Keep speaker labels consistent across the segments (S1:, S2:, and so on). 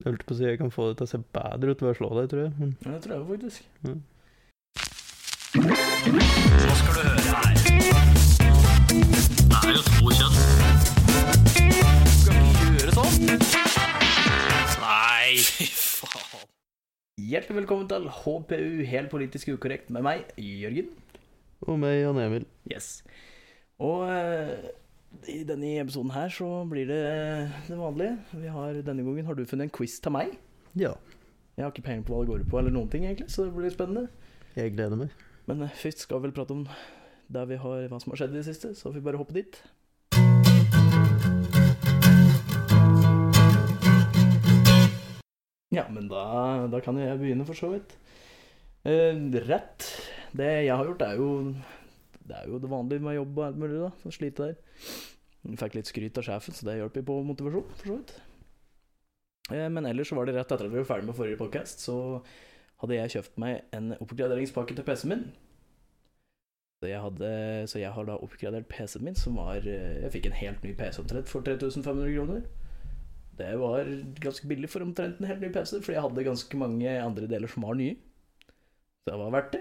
S1: Jeg holdt på å si jeg kan få det til å se bedre ut ved å slå deg, tror jeg. Men
S2: Ja, det tror jeg faktisk.
S1: Ja.
S2: Nå skal du høre her. Det er jo to kjønn. Skal vi gjøre sånn? Nei, fy faen. Hjertelig velkommen til HPU, helt politisk ukorrekt, med meg, Jørgen.
S1: Og meg, Jan Emil.
S2: Yes. Og eh, i denne episoden her så blir det eh, det vanlige. Vi har, denne gangen har du funnet en quiz til meg.
S1: Ja,
S2: Jeg har ikke peiling på hva det går ut på, eller noen ting, egentlig, så det blir spennende.
S1: jeg gleder meg.
S2: Men eh, først skal vi vel prate om der vi har, hva som har skjedd i det siste, så vi bare hoppe dit. Ja, men da, da kan jo jeg begynne, for så vidt. Eh, rett. Det jeg har gjort, er jo det, er jo det vanlige med jobb og alt mulig, da. å Slite der. Jeg fikk litt skryt av sjefen, så det hjalp jo på motivasjon, for så vidt. Eh, men ellers så var det rett etter at vi var ferdig med forrige podkast, så hadde jeg kjøpt meg en oppgraderingspakke til PC-en min. Så jeg, hadde, så jeg har da oppgradert PC-en min, som var eh, Jeg fikk en helt ny PC omtrent for 3500 kroner. Det var ganske billig for omtrent en helt ny PC, fordi jeg hadde ganske mange andre deler som var nye. Så det var verdt det.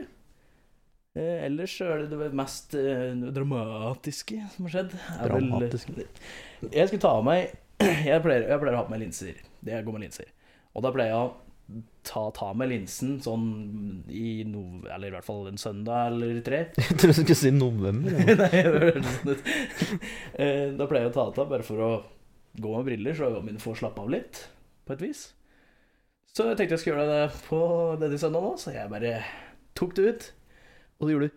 S2: Eh, ellers så er det det mest eh, dramatiske som har skjedd. er vel-
S1: Dramatiske.
S2: Jeg skulle ta av meg jeg pleier, jeg pleier å ha på meg linser. Det jeg går med linser. Og da pleier jeg å ta, ta med linsen sånn i no, Eller i hvert fall en søndag eller tre.
S1: Jeg tror du skulle si november. Ja.
S2: Nei, det hørtes sånn ut. Eh, Da pleier jeg å ta det av bare for å gå med briller, så øynene mine får slappe av litt, på et vis. Så jeg tenkte jeg skulle gjøre det på denne søndagen òg, så jeg bare tok det ut. Og det gjorde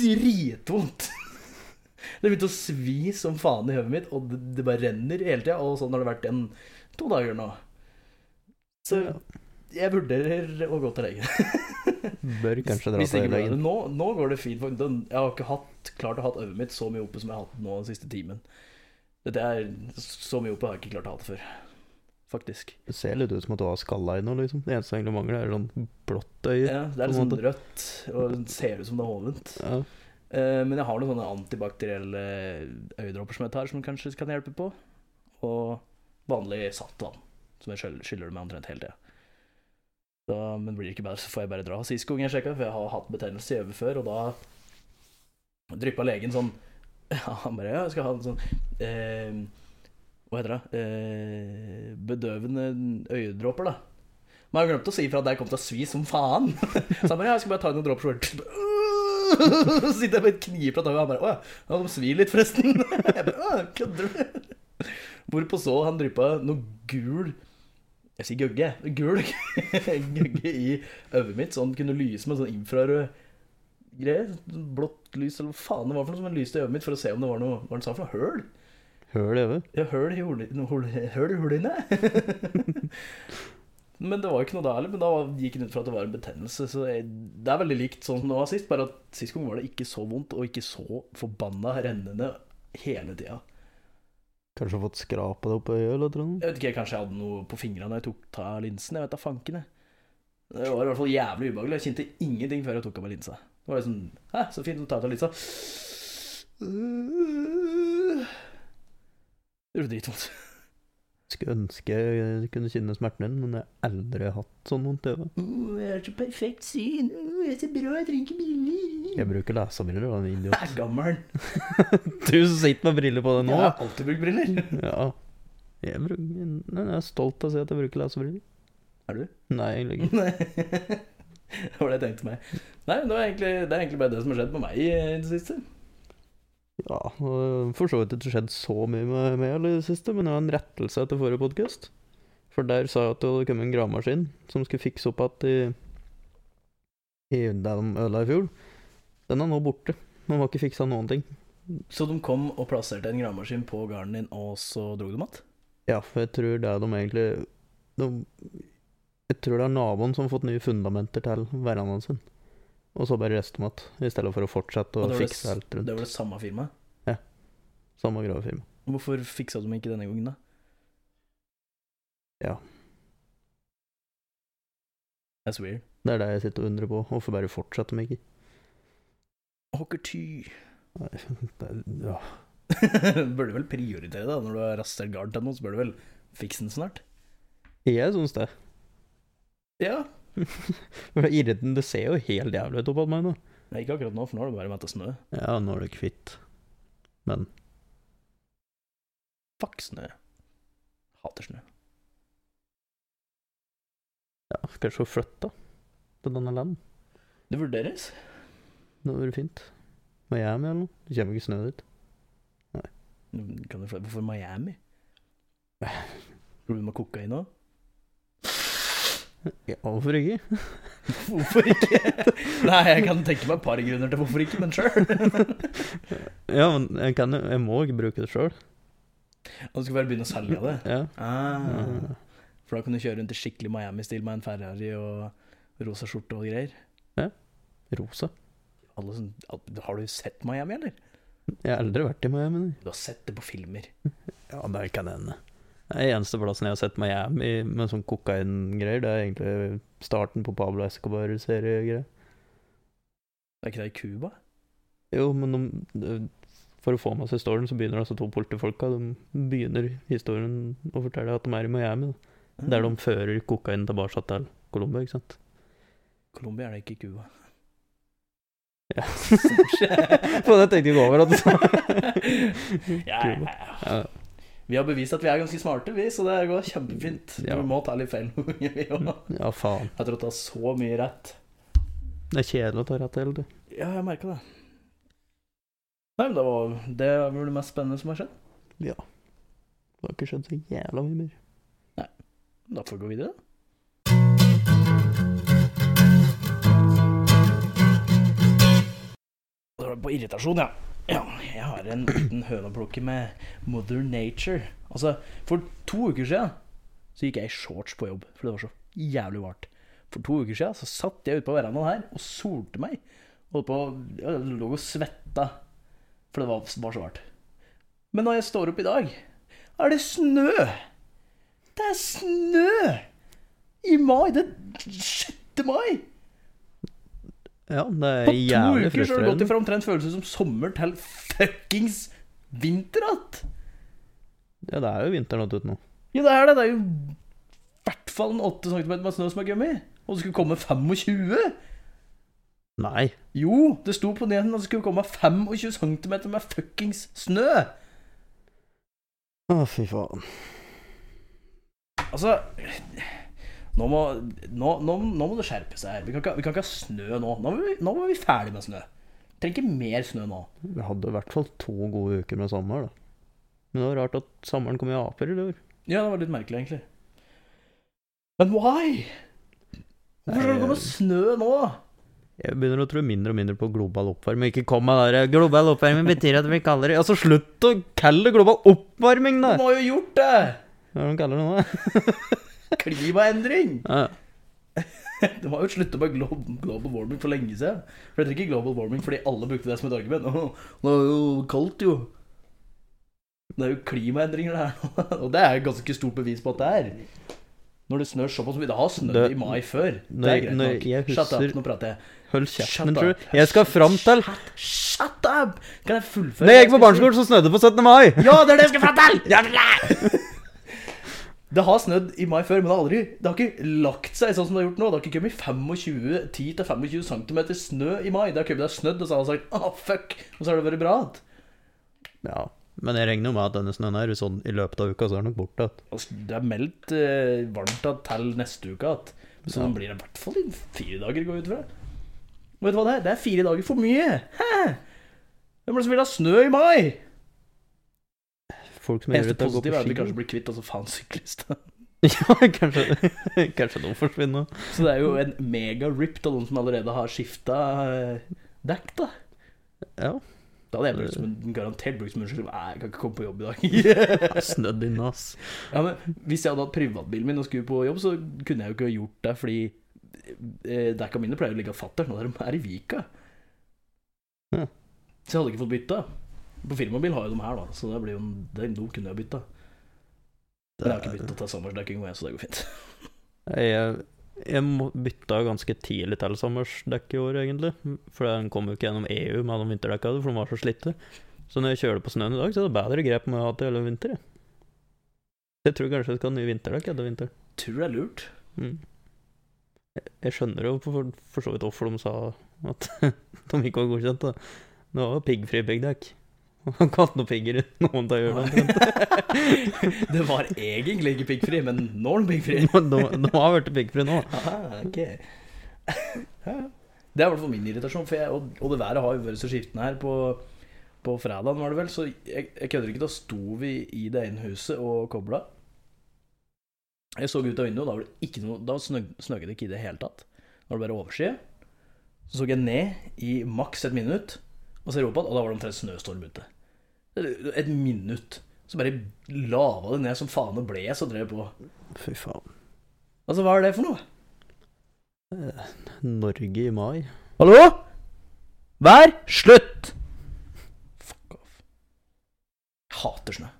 S2: dritvondt. Det begynte å svi som faen i hodet mitt, og det, det bare renner hele tida. Og sånn har det vært en to dager nå. Så
S1: Ja.
S2: jeg vurderer å gå til legen.
S1: Bør kanskje dra
S2: Hvis
S1: til
S2: ikke blir det.
S1: legen.
S2: Nå, nå går det fint. for den- Jeg har ikke hatt, klart å ha øyet mitt så mye oppe som jeg har hatt nå den siste timen. Dette er Så mye oppe har jeg ikke klart å ha det før, faktisk.
S1: Det ser litt ut som at du har skalla i noe, liksom. Det eneste som egentlig mangler, er sånn blått øye.
S2: Ja, det er litt
S1: på en
S2: sånn
S1: måte.
S2: rødt, og det ser ut som det er hovent.
S1: Ja.
S2: Eh, Men jeg har noen sånne antibakterielle øyedråper som jeg tar, som kanskje kan hjelpe på. Og vanlig saltvann, som jeg skyll- skyller det med omtrent hele tida. Da- Men blir det ikke bedre, så får jeg bare dra. Sist gang jeg sjekka, for jeg har hatt betennelse i øyet før, og da dryppa legen sånn ja, Han bare Ja, jeg skal ha en sånn eh, Hva heter det? Eh, bedøvende øyedråper, da. Men jeg glemte å si ifra at jeg kom til å svi som faen. Så han bare Ja, jeg skal bare ta noen dråper, så bare Så sitter jeg med et knivblad tau, og han bare Å ja, ja, de svir litt, forresten. Jeg bare Å, kødder du? Hvorpå så han dryppa noe gul Jeg sier gøgge. Gul gøgge i øyet mitt, så han kunne lyse med en sånn infrarød greie. sånn Blått lys, eller hva faen det var for noe som han lyste i øyet mitt for å se om det var noe Hva han sa for noe? Høl?
S1: Høl i øyet.
S2: Ja, høl i hol- hol- høl i hulene. men det var jo ikke noe da heller. Men da gikk han ut fra at det var en betennelse. Så jeg, det er veldig likt sånn som det var sist, bare at sist gang var det ikke så vondt, og ikke så forbanna rennende hele tida.
S1: Kanskje fått skrapa det opp i øyet, eller tror du?
S2: Jeg vet ikke, kanskje jeg hadde noe på fingrene da jeg tok ta linsen. Jeg vet da fanken, jeg. Det var i hvert fall jævlig ubehagelig. Jeg kjente ingenting før jeg tok av meg linsa. Det var liksom Hæ, så fint, så tar jeg av linsa. Det gjorde dritvondt.
S1: Skulle ønske jeg kunne kjenne smerten din, men jeg har aldri hatt sånn vondt i øyet.
S2: Uh, jeg har så perfekt syn. Uh, jeg ser bra, jeg trenger ikke briller.
S1: Jeg bruker lesebriller, da, din idiot.
S2: Jeg er gammel.
S1: Du som sitter med briller på deg nå.
S2: Jeg har alltid brukt briller.
S1: Ja. Jeg, bruk, Nei, jeg er stolt av å si at jeg bruker lesebriller.
S2: Er du?
S1: Nei, egentlig ikke.
S2: Nei. det var det jeg tenkte meg. Nei, det, var egentlig, det er egentlig bare det som har skjedd med meg i det siste.
S1: Ja, og for så vidt ikke skjedd så mye med meg i det siste, men jeg har en rettelse etter forrige podkast. For der sa jeg at det hadde kommet en gravemaskin som skulle fikse opp igjen i, i det de ødela i fjor. Den er nå borte. Man har ikke fiksa noen ting.
S2: Så de kom og plasserte en gravemaskin på garden din, og så dro de att?
S1: Ja, for jeg tror det er de egentlig de, Jeg tror det er naboen som har fått nye fundamenter til verandaen sin. Og så bare resten igjen, i stedet for å fortsette
S2: Og
S1: å
S2: det var det s-
S1: fikse alt rundt.
S2: Det var det samme firmaet.
S1: Samme gravefirma.
S2: Hvorfor fiksa de ikke denne gangen, da?
S1: Ja.
S2: That's weird.
S1: Det er det jeg sitter og undrer på. Hvorfor bare fortsetter de ikke?
S2: Hockerty.
S1: Nei, det, er- ja.
S2: bør du vel prioritere det da, når du har rasert garden til noen, så bør du vel fikse den snart.
S1: Jeg syns det.
S2: Ja.
S1: For det er irriten, det ser jo helt jævlig ut oppå meg nå.
S2: Nei, ikke akkurat nå, for nå er det bare mett av snø.
S1: Ja, nå er det kvitt. Men
S2: Fuck snø. Hater snø.
S1: ja, kanskje å flytte til denne land.
S2: Det vurderes.
S1: Det hadde vært fint. Miami eller noe. Det kommer ikke snø dit.
S2: Kan du fly Hvorfor Miami? Tror du de har kokain òg?
S1: Ja, hvorfor ikke?
S2: Hvorfor ikke? Nei, jeg kan tenke meg et par grunner til hvorfor ikke, men sure.
S1: Ja, men jeg, kan, jo- jeg må ikke bruke det sjøl.
S2: Og du skal bare begynne å selge det?
S1: Ja. eh,
S2: Ah. For da kan du kjøre rundt i skikkelig Miami-stil med en Ferrari og rosa skjorte og greier.
S1: Rosa.
S2: Alle som, al- har du sett Miami, eller?
S1: Jeg har aldri vært i Miami. nei.
S2: Du har sett det på filmer.
S1: Ja, det kan hende. Den eneste plassen jeg har sett Miami med sånn kokaingreier, det er egentlig starten på Pablo Escobar-seriegreier.
S2: Er ikke det i Cuba?
S1: Jo, men de, for å få med seg storyen, så begynner altså to politifolka. De begynner historien å fortelle at de er i Miami, da. der
S2: Mm.
S1: de fører kokain tilbake til Colombia, ikke sant?
S2: Colombia er det ikke i Cuba.
S1: Ja. Faen, jeg tenkte ikke over at du sa
S2: ja, ja, ja.
S1: Ja.
S2: Vi har bevist at vi er ganske smarte, vi, så det går kjempefint.
S1: Ja.
S2: Vi må ta litt feil noen ganger, vi òg.
S1: Ja, faen.
S2: Jeg tror det er så mye rett.
S1: Det er kjedelig å ta rett hele tiden.
S2: Ja, jeg merka det. Nei, men det var det, var det mest spennende som har skjedd.
S1: Ja. Det har ikke skjedd så jævla mye mer.
S2: Da får vi gå videre. Da var det på irritasjon, ja. Ja, jeg har en liten høne å plukke med Mother Nature. Altså, for to uker siden så gikk jeg i shorts på jobb, for det var så jævlig varmt. For to uker siden så satt jeg ute på verandaen her og solte meg. Og på, jeg lå og svetta, for det var, var så varmt. Men når jeg står opp i dag, er det snø! Det er snø! I mai! Det er 6. mai!
S1: Ja, det er
S2: På to
S1: jævlig
S2: uker så har det gått
S1: frustrerende.
S2: ifra omtrent følelse som sommer til fuckings vinter att!
S1: Ja, det er jo vinteren ute nå.
S2: Ja, det er det. Det er jo i hvert fall en 8 cm med snø som er gummi. Og det skulle komme 25!
S1: Nei.
S2: Jo, det sto på nyheten at det skulle komme 25 cm med fuckings snø!
S1: Å, fy faen.
S2: Altså Nå må, nå, nå, nå må det skjerpe seg. her. Vi kan ikke, vi kan ikke ha snø nå. Nå må vi, nå må vi ferdig med snø. Trenger ikke mer snø nå.
S1: Vi hadde i hvert fall to gode uker med sommer, da. Men det var rart at sommeren kom i april i år.
S2: Ja, det var litt merkelig, egentlig. Men why? Hvorfor skal det komme snø nå?
S1: Jeg begynner å tro mindre og mindre på global oppvarming. Ikke kom med det der. Global oppvarming betyr at det blir kaldere. Altså, slutt å kalle det global oppvarming, da!
S2: De har jo gjort det!
S1: Hva er det de kaller det nå? da?
S2: Klimaendring!
S1: Ja.
S2: De har jo slutta med glo global warming for lenge siden. For jeg trenger ikke global warming fordi alle brukte det som et argument. Åh, det er jo kaldt, jo. Det er jo klimaendringer det her nå. Og det er jo ganske stort bevis på at det er. Når det snør såpass mye Det har snødd
S1: Det-
S2: i mai før. Det
S1: når-
S2: er greit
S1: når
S2: nok.
S1: jeg
S2: Shut up,
S1: husker-
S2: nå prater jeg.
S1: Hold
S2: Shut
S1: kjeften din,
S2: up.
S1: tror du. Jeg skal fram til
S2: Shut, shut up! Kan jeg fullføre?
S1: Da jeg gikk
S2: det
S1: på barneskolen, så snødde det på 17. mai!
S2: Ja, det er det jeg skal fram til! Det har snødd i mai før, men det har aldri Det har ikke lagt seg sånn som det har gjort nå. Det har ikke kommet 25 10-25 cm snø i mai. Det har kommet det har snødd, og så har han sagt ah, fuck, og så har det vært bra. igjen.
S1: Ja, men jeg regner jo med at denne snøen her, sånn i løpet av uka, så er den nok borte. at-
S2: Altså, Det er meldt eh, varmt at til neste uke igjen. Så det blir i hvert fall i fire dager, går jeg ut fra. Og vet du hva det er? Det er fire dager for mye! Hæ? Hvem er det som vil ha snø i mai?
S1: Folk som gjør
S2: Eneste
S1: det til å gå
S2: positive er at vi
S1: på
S2: kanskje
S1: ski.
S2: blir kvitt altså faen syklister.
S1: Ja, kanskje, kanskje de forsvinner.
S2: Så det er jo en mega rip av noen som allerede har skifta dekk, da.
S1: Ja.
S2: Da hadde jeg brukt som en garantert brukt som unnskyldning. Nei, jeg kan ikke komme på jobb i dag.
S1: Snødd inne, ass.
S2: ja, men Hvis jeg hadde hatt privatbilen min og skulle på jobb, så kunne jeg jo ikke ha gjort det, fordi eh, dekka mine pleier å ligge av fatter'n, og de er i Vika.
S1: Ja.
S2: Så jeg hadde ikke fått bytta. På firmabil har jo de her, da, så det blir jo en, de de kunne jeg bytta. Men jeg har ikke bytta til sommersdekking, og jeg, så det går fint.
S1: Jeg, jeg må- bytta ganske tidlig til sommersdekk i år, egentlig. For den kom jo ikke gjennom EU med de vinterdekka, for de var så slitte. Så når jeg kjører på snøen i dag, så er det bedre grep enn jeg har hatt i hele vinter. jeg. Jeg tror kanskje jeg skal ha nye vinterdekk etter vinteren.
S2: tror det er lurt.
S1: Mm. Jeg- Jeg skjønner jo for, for så vidt hvorfor de sa at de ikke var godkjent. da. Det var jo piggfri piggdekk. Han kan ikke noe pigger i noen av hjulene.
S2: det var egentlig ikke piggfri, men nå er den piggfri.
S1: De, de har blitt piggfri nå.
S2: Ah, ok. Ja, ja. Det er i hvert fall min irritasjon, for jeg, og, og det været har jo vært så skiftende her. På, på fredagen var det vel, så jeg, jeg kødder ikke, da sto vi i det ene huset og kobla. Jeg så ut av vinduet, og da, var det ikke noe, da snøg, snøgget det ikke i det hele tatt. Da var det bare overskyet. Så så jeg ned i maks et minutt, og ser opp igjen, og da var det omtrent snøstorm ute. Et minutt. Så bare lava det ned som faen, og ble jeg så drev jeg på.
S1: Fy faen.
S2: Altså, hva er det for noe?
S1: Eh, Norge i mai.
S2: Hallo? Vær slutt! Fuck off. Jeg hater snø.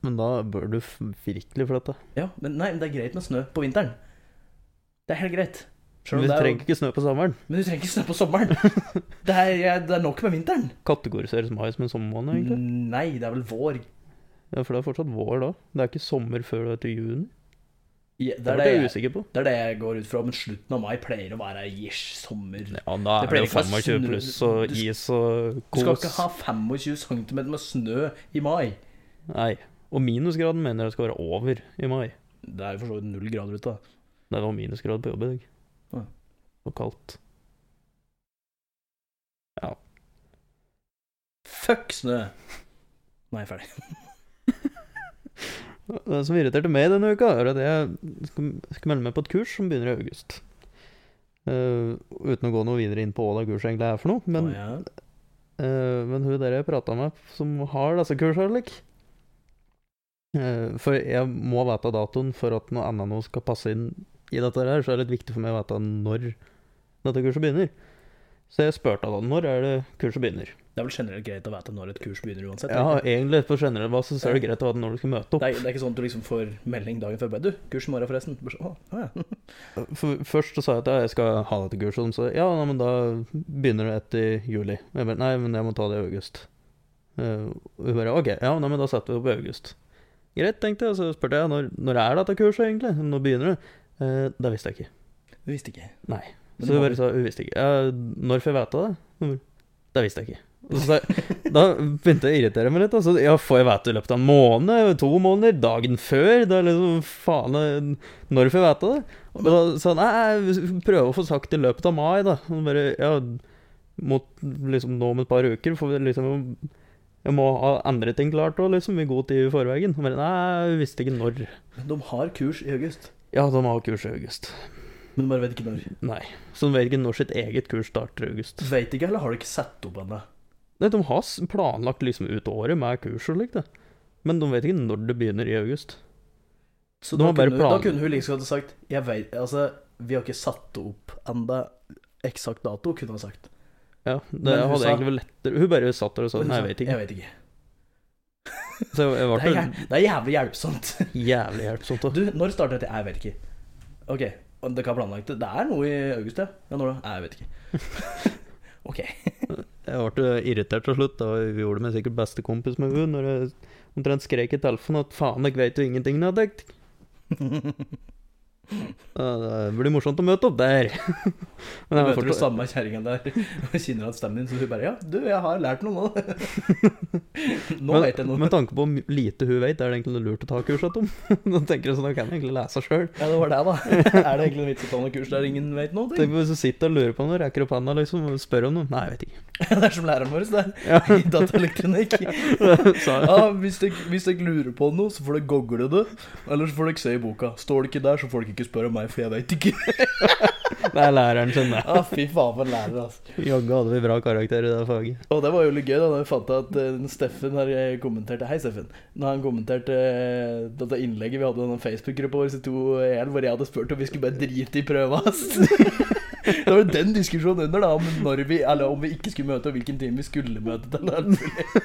S1: Men da bør du f- virkelig flytte.
S2: Ja, men nei, men det er greit med snø på vinteren. Det er helt greit. Selv om
S1: Vi
S2: det er-
S1: trenger ikke snø på sommeren.
S2: Men du trenger ikke snø på sommeren. Det er, jeg, det er nok med vinteren.
S1: Kategoriseres mai som en
S2: Mm.
S1: sommermåned, egentlig.
S2: Nei, det er vel vår.
S1: Ja, For det er fortsatt vår da. Det er ikke sommer før det er til juni.
S2: Ja, det,
S1: Det
S2: er
S1: ble
S2: det,
S1: jeg
S2: jeg,
S1: usikker på.
S2: det er det jeg går ut fra, men slutten av mai pleier å være ish sommer.
S1: Ja, da er
S2: Det
S1: det
S2: pleier
S1: jo
S2: ikke å være
S1: 25
S2: snø.
S1: pluss og
S2: Du sk-
S1: is og
S2: Du skal
S1: kos.
S2: ikke ha 25 cm med snø i mai.
S1: Nei. Og minusgraden mener jeg skal være over i mai.
S2: Det er jo for så vidt null grader ute, da.
S1: Det var minusgrad på jobb i dag.
S2: Ja.
S1: Og kaldt.
S2: Fuck snø! Nå er jeg ferdig.
S1: Det som irriterte meg denne uka, er at jeg skal, skal melde meg på et kurs som begynner i august. Eh, uten å gå noe videre inn på hva det kurset egentlig er for noe. Men,
S2: Å, ja.
S1: eh, men hun der jeg prata med, som har disse kursene, like. Eh, for jeg må vite datoen for at noe annet nå skal passe inn i dette her, så er det litt viktig for meg å vite når dette kurset begynner. Så jeg spurte henne når er det kurset begynner.
S2: Det er vel generelt greit å vite når et kurs begynner uansett.
S1: Ja,
S2: ikke?
S1: egentlig på generell basis er det greit å ha det når du skal møte
S2: det,
S1: opp.
S2: er, det er ikke sånn at du liksom får melding dagen før. bare, Du, kurs i morgen, forresten. Bare så, Å, å, ja.
S1: For, først så sa jeg at ja, jeg skal ha dette kurset, og de sa ja, nei, men da begynner det etter juli. Og jeg bare nei, men jeg må ta det i august. Eh, Og hun bare ok, ja, nei, men da setter vi det opp i august. Greit, tenkte jeg, og så spurte jeg når, når er dette kurset egentlig? Når begynner det? Eh, det visste jeg ikke.
S2: Du visste ikke.
S1: Nei. Så
S2: Men det
S1: hun
S2: var-
S1: bare sa hun visste ikke. Ja, når får jeg vite det? Hun bare, Det visste jeg ikke. Og så sa jeg, da begynte jeg å irritere meg litt. Altså, ja, får jeg vite det i løpet av en måned? To måneder? Dagen før? Det er liksom faen eh, Når får jeg vite det? Og da sa hun nei, prøv å få sagt det i løpet av mai, da. Og bare ja, mot liksom nå om et par uker, for vi liksom jeg må ha andre ting klart òg, liksom, i god tid i forveien. Og bare, Nei, jeg visste ikke når.
S2: Men de har kurs i august,
S1: Ja, de har kurs i august.
S2: men du bare vet ikke når.
S1: Nei. Så de vet ikke når sitt eget kurs starter i august.
S2: Du Vet ikke, eller har du ikke satt opp ennå?
S1: Nei, de har s- planlagt liksom ut året med kurs og likt, det. Men de vet ikke når det begynner i august.
S2: Så
S1: De
S2: da
S1: har bare
S2: kunne, da
S1: planer.
S2: kunne hun like godt ha sagt Jeg vet, altså, vi har ikke satt opp ennå eksakt dato, kunne hun sagt.
S1: Ja, det
S2: Men hun
S1: hadde
S2: sa-
S1: egentlig vært lettere Hun bare satt der og sa
S2: Men hun
S1: nei,
S2: sa,
S1: jeg vet ikke.
S2: Jeg vet ikke.
S1: Så jeg
S2: Det er,
S1: ble
S2: jæv- det er jævlig hjelpsomt.
S1: jævlig hjelpsomt. da.
S2: Du, når starter dette? Jeg vet ikke. Ok, og det kan planlagt. Det er noe i august, ja. Ja, når da? Nei, Jeg vet ikke. ok.
S1: Jeg ble irritert til slutt. Da vi gjorde meg sikkert bestekompis med hun når jeg omtrent skrek i telefonen at faen, jeg vet jo ingenting. nå, tenkt. Ja, Det blir morsomt å møte opp der. Men
S2: Du
S1: jeg
S2: møter
S1: var
S2: du
S1: fortsatt
S2: samme kjerringa der og kjenner at stemmen din, så hun bare Ja, du, jeg har lært noe nå. nå
S1: men,
S2: vet jeg noe.
S1: Med tanke på hvor lite hun vet, er det egentlig lurt å ta kurset om. Da tenker jeg sånn, da kan jeg egentlig lese sjøl.
S2: Ja, det var det, da. er det egentlig en vits å ta noe kurs der ingen vet noe?
S1: Tenk hvis du sitter og lurer på noe, rekker opp handa liksom, og spør om noe. Nei, jeg vet ikke.
S2: det er som læreren vår, det.
S1: Ja.
S2: I dataelektronikk.
S1: Så,
S2: Ja, hvis dere hvis dere lurer på noe, så får dere google det. Eller så får dere se i boka. Står det ikke der, så får dere ikke spørre meg, for jeg veit ikke.
S1: det er læreren sin, det.
S2: ah, fy faen for en lærer, altså.
S1: Jaggu hadde vi bra karakter i det faget.
S2: Og det var jo litt gøy da når jeg fant at eh, Steffen her eh, kommenterte Hei, Steffen. Når han kommenterte eh, dette innlegget vi hadde i den Facebook-gruppa vår, så to eh, en hvor jeg hadde spurt om vi skulle bare drite i prøva hans. det var jo den diskusjonen under, da, om, når vi, eller om vi ikke skulle møte, og hvilken time vi skulle møte til. eller alt mulig.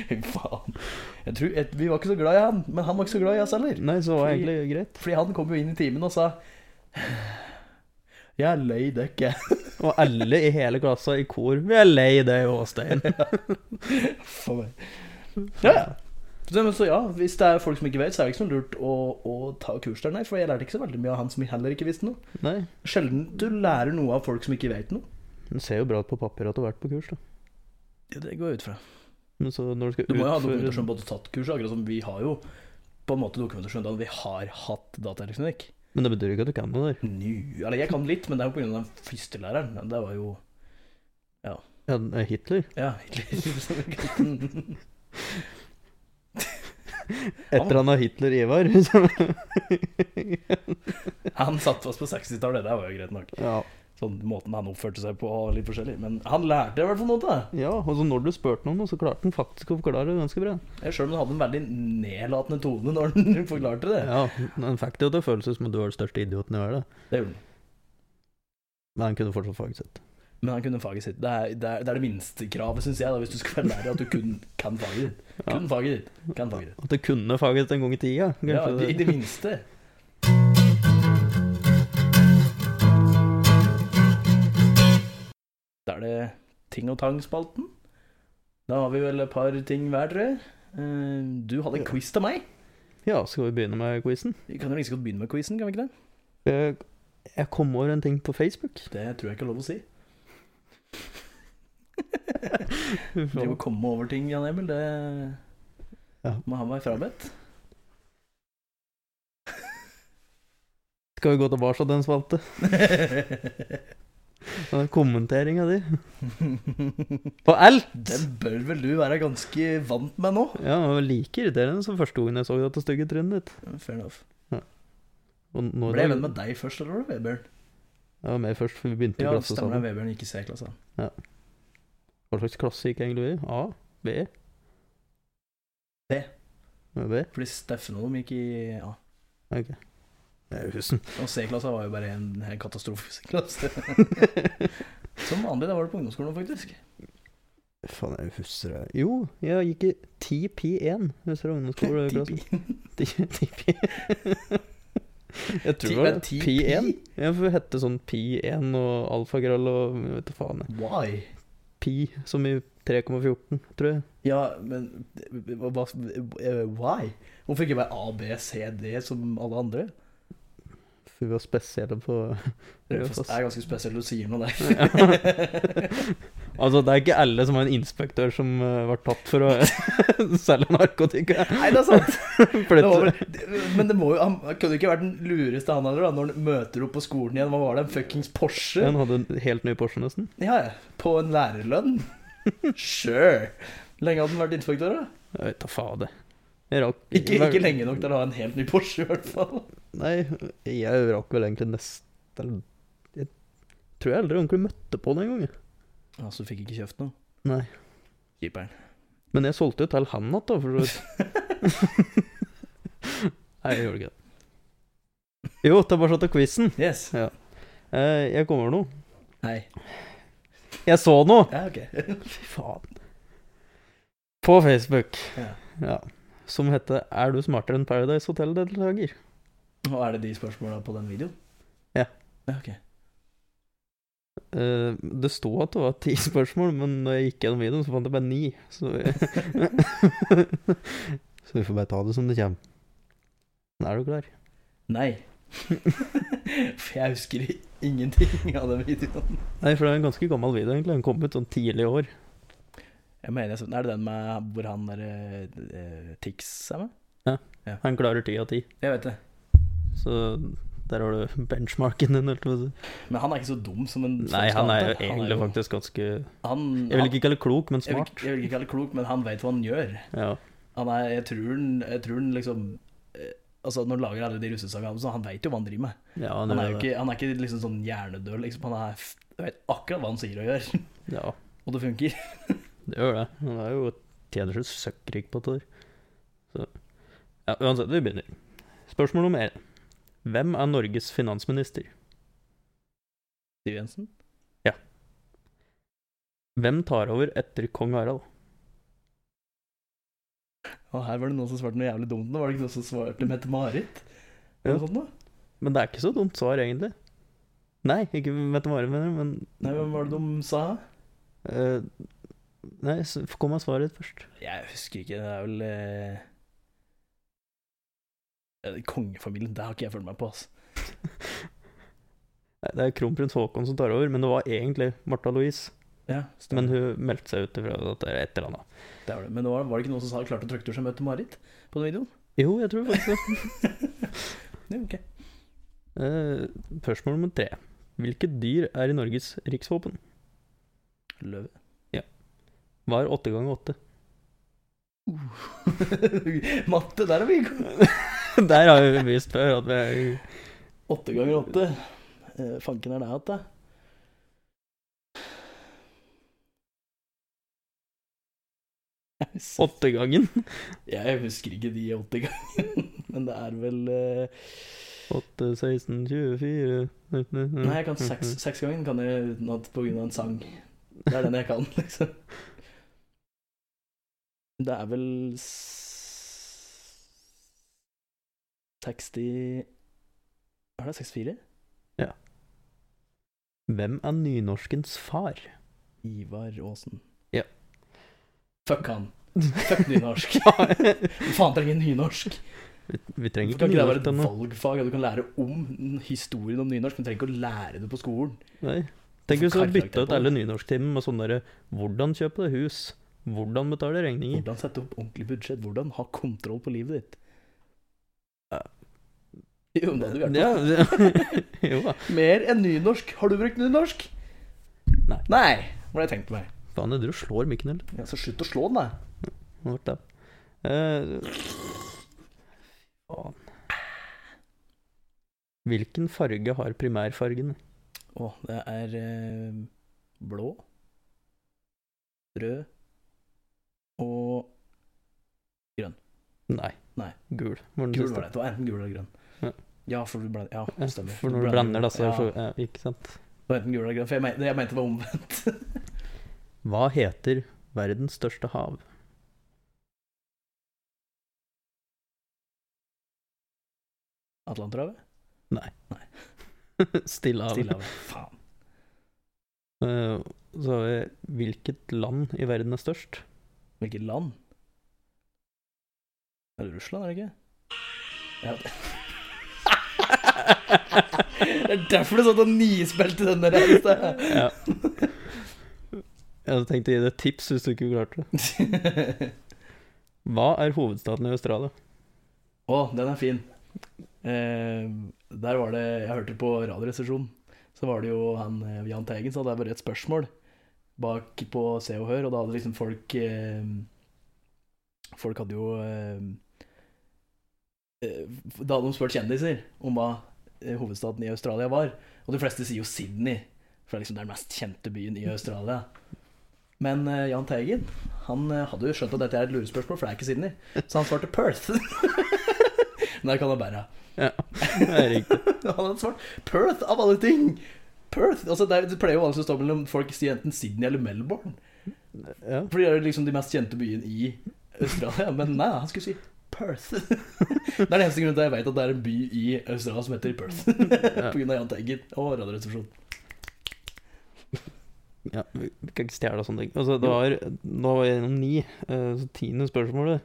S2: Fy faen. Jeg tror, jeg, vi var ikke så glad i han, men han var ikke så glad i oss heller.
S1: Nei, så var det
S2: Fordi-
S1: egentlig greit.
S2: Fordi han kom jo inn i timen og sa Jeg er lei dekk, jeg.
S1: Og alle i hele klassa i kor Vi er lei deg, Åstein.
S2: For meg. Ja, ja. Så, men så ja, Hvis det er folk som ikke vet, så er det ikke så lurt å, å ta kurs der, nei. For jeg lærte ikke så veldig mye av han som heller ikke visste noe.
S1: Nei.
S2: Sjelden du lærer noe av folk som ikke vet noe.
S1: Det ser jo bra ut på papir at du har vært på kurs, da.
S2: Ja, det går jeg ut fra.
S1: Men så når du skal
S2: Du må jo ha
S1: utføre-
S2: dokumentasjon på at du har tatt kurs, akkurat som vi har jo på en måte dokumentasjon da vi har hatt dataelektronikk.
S1: Men det betyr ikke at du kan noe der.
S2: Ny. Eller jeg kan litt, men det er jo pga. den fyrstelæreren. men Det var jo
S1: Ja, den er Hitler.
S2: Ja, Hitler som vi kalte den.
S1: Etter han har Hitler Ivar. liksom. så-
S2: Han satt fast på 60-tallet, det var jo greit nok.
S1: ja.
S2: Sånn Måten han oppførte seg på og litt forskjellig. Men han lærte i hvert fall noe av det.
S1: ja, og så når du spurte noen, så klarte han faktisk å forklare det ganske bra.
S2: Sjøl om han hadde en veldig nedlatende tone når han forklarte det.
S1: Ja, Han fikk det jo til å føles som at du var den største idioten i verden,
S2: Det gjorde han.
S1: men han kunne fortsatt faget sitt.
S2: Men han kunne faget sitt. Det er det, er, det, er det minste kravet, syns jeg, da, hvis du skal være lærer, at du kun kan faget ditt.
S1: Ja.
S2: Kun faget ditt. Kan faget ditt.
S1: At det kunne faget sitt en gang i tida,
S2: Ja,
S1: kanskje.
S2: i det minste. Da er det Ting og Tang-spalten. Da har vi vel et par ting hver, tror jeg. Eh, Du hadde en
S1: Ja.
S2: quiz til meg.
S1: Ja, skal vi begynne med quizen?
S2: Vi kan jo like så godt begynne med quizen, kan vi ikke det?
S1: Jeg, jeg kom over en ting på Facebook.
S2: Det tror jeg ikke er lov å si. Det å komme over ting, Jan Emil, det
S1: Ja.
S2: må ha meg frabedt.
S1: Skal vi gå tilbake til den spalte? Den kommenteringa di.
S2: Den
S1: På alt!
S2: bør vel du være ganske vant med nå?
S1: Ja, det var like irriterende som første gangen jeg så dette stygge trynet ditt.
S2: Fair enough.
S1: Og nå
S2: Ble jeg venn med deg først, eller var det Vebjørn?
S1: Jeg var med først, for vi begynte i
S2: Ja, det
S1: klasse
S2: stemmer
S1: sammen.
S2: det. Vebjørn gikk i C-klasse.
S1: Hva slags klasse gikk egentlig vi? i? A? B?
S2: B.
S1: Ja, B?
S2: Fordi Steffen og dem gikk i A.
S1: Ok. Det er husen.
S2: Og C-klassa var jo bare en, en katastrofeklasse. Som vanlig, da var det på ungdomsskolen faktisk.
S1: Faen, jeg husker det. Jo, jeg gikk i 10P1. Husker du ungdomsskoleklassen?
S2: Tippi.
S1: 10P1. Jeg tror
S2: Ti-
S1: det var
S2: eh, 10P?
S1: P1. Ja, for det hette sånn P1 og alfagrøll og jeg vet da faen. jeg.
S2: Why?
S1: Pi som i 3,14, tror jeg.
S2: Ja, men hva, hva- eh, Why? Hvorfor ikke bare A, B, C, D som alle andre?
S1: For vi var spesielle på
S2: Det
S1: Ja,
S2: er
S1: fast.
S2: ganske spesielt du sier noe der.
S1: Ja. altså, det er ikke alle som er en inspektør som eh, var tatt for å selge narkotika.
S2: Nei, det er sant.
S1: For
S2: Det
S1: det-
S2: var vel, det- men det må jo, han han kunne ikke vært den lureste han heller, da, når han møter opp på skolen igjen. Hva var det, en fuckings Porsche?
S1: Han hadde en helt ny Porsche, nesten.
S2: Ja, ja. På en lærerlønn? Sure. Lenge hadde han vært inspektør, da?
S1: Jeg vet da fader. Jeg rakk
S2: Ikke, ikke lenge nok til å ha en helt ny Porsche, i hvert fall.
S1: Nei, jeg rakk vel egentlig nesten eller, Jeg tror jeg aldri ordentlig møtte på den engang. jeg.
S2: Ja, Så fikk ikke kjøpt noe?
S1: Nei.
S2: Keeperen.
S1: Men jeg solgte jo til han igjen, da, for så vidt. Nei, jeg gjorde ikke det. Jo, tilbake til quizen. Eh,
S2: Yes.
S1: Jeg kom over noe.
S2: Nei.
S1: Jeg så noe!
S2: Ja, ok.
S1: Fy faen. På Facebook.
S2: Ja.
S1: Ja. Som heter 'Er du smartere enn Paradise Hotel-deltaker?'
S2: Og er det de spørsmåla på den videoen?
S1: Ja.
S2: ja ok.
S1: Eh, det sto at det var ti spørsmål, men når jeg gikk gjennom videoen, så fant jeg bare ni. Så, så vi får bare ta det som det kommer. Men er du klar?
S2: Nei. For jeg husker ingenting av den videoen.
S1: Nei, for det er en ganske gammel video, egentlig. Den kom ut sånn tidlig i år.
S2: Jeg mener, jeg så- Er det den med hvor han der eh, Tix er med?
S1: Han klarer ti av ti.
S2: Jeg vet det.
S1: Så der har du benchmarken din. holdt jeg på å si.
S2: Men han er ikke så dum som en som
S1: Nei, han
S2: skate.
S1: er jo egentlig
S2: jo-
S1: faktisk ganske Jeg
S2: han,
S1: vil ikke kalle det klok, men
S2: jeg vil,
S1: smart.
S2: jeg vil ikke kalle det klok, men han vet hva han gjør.
S1: Ja.
S2: Han er, jeg tror han, jeg tror han liksom eh, Altså Når han lager alle de russesangene, så han vet jo hva han driver med.
S1: Ja,
S2: Han er
S1: det.
S2: jo ikke, han er ikke liksom sånn hjernedød, liksom. Han er, f- vet akkurat hva han sier og gjør,
S1: Ja.
S2: og det funker.
S1: Det gjør det. Han er jo tjener seg søkkrik på det der. Så ja, uansett, vi begynner. Spørsmål nummer én. Hvem er Norges finansminister?
S2: Siv Jensen?
S1: Hvem tar over etter kong Harald?
S2: Og her var det noen som svarte noe jævlig dumt nå, var det ikke noen som svarte Mette-Marit? sånn
S1: Ja.
S2: Eller noe sånt nå?
S1: Men det er ikke så dumt svar, egentlig. Nei, ikke Mette-Marit, mener jeg, men
S2: Nei, hvem var det de sa?
S1: Eh, Nei, s- kom med svaret først.
S2: Jeg husker ikke, det er vel eh, Eh, Kongefamilien, det har ikke jeg følt meg på, ass.
S1: Nei, Det er kronprins Haakon som tar over, men det var egentlig Martha Louise.
S2: Ja,
S1: Men
S2: stemmer.
S1: hun meldte seg ut ifra at det er et eller annet.
S2: det var det. Men nå var det ikke noen som sa 'klarte å trykke til seg Mette-Marit' på den videoen?
S1: Jo, jeg tror faktisk det.
S2: Ja, ok.
S1: Eh, Spørsmål nummer tre. Hvilket dyr er i Norges riksvåpen?
S2: Løve.
S1: Hva er åtte ganger åtte?
S2: Matte, der er vi gode.
S1: Der har vi vist før at vi er
S2: Åtte ganger åtte. Eh, Fanken er det hatt, da. Jeg husker-
S1: åttegangen.
S2: Jeg husker ikke de åtte gangene, men det er vel eh,
S1: 8, 16, 24 Mm.
S2: Nei, jeg kan
S1: Mm-hmm.
S2: seks, seks gangen kan jeg utenat på grunn av en sang. Det er den jeg kan, liksom. Det er vel s- 60 Er det 64?
S1: Hvem er nynorskens far?
S2: Ivar Aasen.
S1: Ja.
S2: Fuck han. Fuck nynorsk.
S1: Nei,
S2: Faen trenger nynorsk.
S1: vi, vi trenger ikke
S2: Hvorfor kan ikke det være
S1: nynorsk
S2: et
S1: ennå.
S2: valgfag? at Du kan lære om historien om nynorsk, men du trenger ikke å lære det på skolen.
S1: Nei. Tenk hvis du hadde
S2: Kartlag
S1: bytta ut
S2: det på.
S1: alle nynorsktimene med sånn derre Hvordan kjøpe deg hus? Hvordan betale regninger?
S2: Hvordan sette opp ordentlig budsjett? Hvordan ha kontroll på livet ditt?
S1: Ja.
S2: Jo, men det hadde vi
S1: Ja,
S2: vært
S1: det- jo da.
S2: på. Mer enn nynorsk. Har du brukt nynorsk?
S1: Nei.
S2: Nei, var det jeg tenkte meg.
S1: Faen, jeg driver og slår mikken, eller?
S2: Ja, så slutt å slå den, da.
S1: Hva ble det? Eh, faen. Hvilken farge har primærfargen?
S2: Å, det er eh, blå, rød og
S1: Nei.
S2: Nei.
S1: Gul. var den
S2: Gul
S1: siste.
S2: var det. Det var enten gul eller grønn.
S1: Ja.
S2: Ja, for, du ble, ja,
S1: Ja,
S2: stemmer.
S1: For når du brenner, da, så
S2: ja,
S1: så ja, Ikke sant.
S2: det var enten gul eller grønn. For jeg, men, jeg mente det var omvendt.
S1: Hva heter verdens største hav?
S2: Atlanterhavet?
S1: Stillehavet.
S2: Stillehavet. Faen.
S1: Eh, så har vi hvilket land i verden er størst?
S2: Hvilket land? Er det Russland, er det ikke? Ja. det er derfor du satt og nispelte den der. i sted.
S1: Ja. Jeg hadde tenkt å gi deg et tips hvis du ikke klarte det. Hva er hovedstaden i Australia?
S2: Å, den er fin. Eh, der var det Jeg hørte på Radioresepsjonen. Så var det jo han eh, Jahn Teigen som hadde bare et spørsmål bak på Se og Hør, og da hadde liksom folk eh, Folk hadde jo eh, eh, Da hadde de spurt kjendiser om hva eh, hovedstaden i Australia var, og de fleste sier jo Sydney, for det er liksom den mest kjente byen i Australia. Men eh, Jahn Teigen han eh, hadde jo skjønt at dette er et lurespørsmål, for det er ikke Sydney, så han svarte Perth. Men det kan han bære.
S1: Ja, det er riktig.
S2: Han hadde svart Perth, av alle ting! Perth! Altså, det er- det pleier jo alle som står mellom folk sier enten Sydney eller Melbourne.
S1: Ja.
S2: For det er jo liksom de mest kjente byene i Australia. Men nei, han skulle si Perth. Det er den eneste grunnen til at jeg vet at det er en by i Australia som heter Perth. På grunn av Jahn Teigen og Radioresepsjonen.
S1: ja vi vi kan ikke stjele og sånne ting. Altså, det var, nå var jeg gjennom ni, eh, så tiende spørsmålet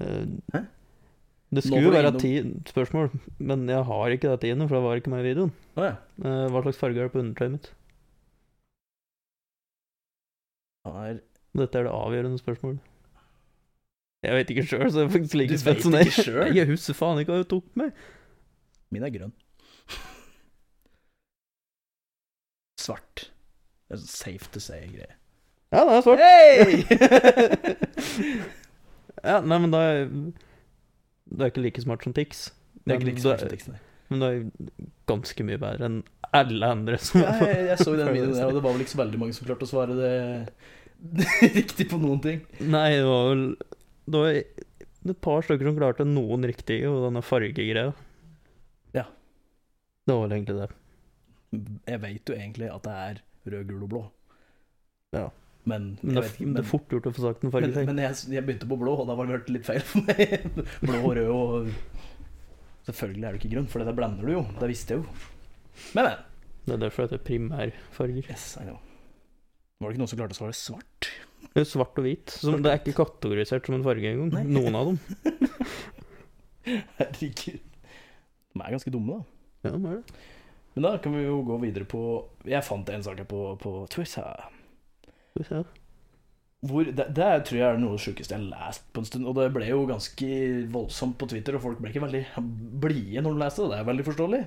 S1: eh,
S2: Hæ?
S1: Det
S2: Nå
S1: skulle
S2: var
S1: være
S2: du
S1: ti spørsmål, men jeg har ikke det tiende, for det var ikke med i videoen.
S2: Å ja.
S1: Eh, hva slags farge er det på undertøyet mitt?
S2: Han er-
S1: Dette er det avgjørende spørsmålet. Jeg vet ikke sjøl, så jeg er faktisk like
S2: Du
S1: spent
S2: vet
S1: som deg.
S2: ikke selv?
S1: Jeg husker faen ikke hva jeg tok med.
S2: Min er grønn. Svart. Det er sånn safe to say-greie.
S1: Ja, det er svart.
S2: Hey!
S1: Ja, nei, men da Du er ikke like smart som Tix.
S2: Det er
S1: Men
S2: ikke
S1: du
S2: like
S1: er-
S2: smart som teksten her.
S1: Men du er ganske mye bedre enn alle andre som
S2: Ja, jeg, jeg så jo den videoen der, og det var vel ikke så veldig mange som klarte å svare det riktig på noen ting.
S1: Nei, det var vel Det var et par stykker som klarte noen riktige, og denne fargegreia.
S2: Ja.
S1: Det var vel egentlig det.
S2: Jeg vet jo egentlig at det er rød, gul og blå.
S1: Ja.
S2: Men,
S1: Men det,
S2: jeg vet ikke,
S1: men, det er fort gjort å få sagt en
S2: men,
S1: fargeting.
S2: men jeg, jeg begynte på blå, og da var det hørt litt feil for meg. Blå og rød og Selvfølgelig er det ikke grønn, for det der blander du jo. Det visste jeg jo. Men, men.
S1: Det er derfor det heter primærfarger.
S2: Yes, I know. Var det ikke noen som klarte å svare svart?
S1: Det er jo svart og hvit. Som, det er ikke kategorisert som en farge engang.
S2: Nei.
S1: Noen av dem.
S2: Herregud. De er ganske dumme, da.
S1: Ja, det er det.
S2: Men da kan vi jo gå videre på Jeg fant en sak her på, på Twitter.
S1: Skal vi se.
S2: Hvor, det, det er- tror jeg er noe av det sjukeste jeg har lest på en stund. Og det ble jo ganske voldsomt på Twitter, og folk ble ikke veldig blide når de leste det. Det er veldig forståelig.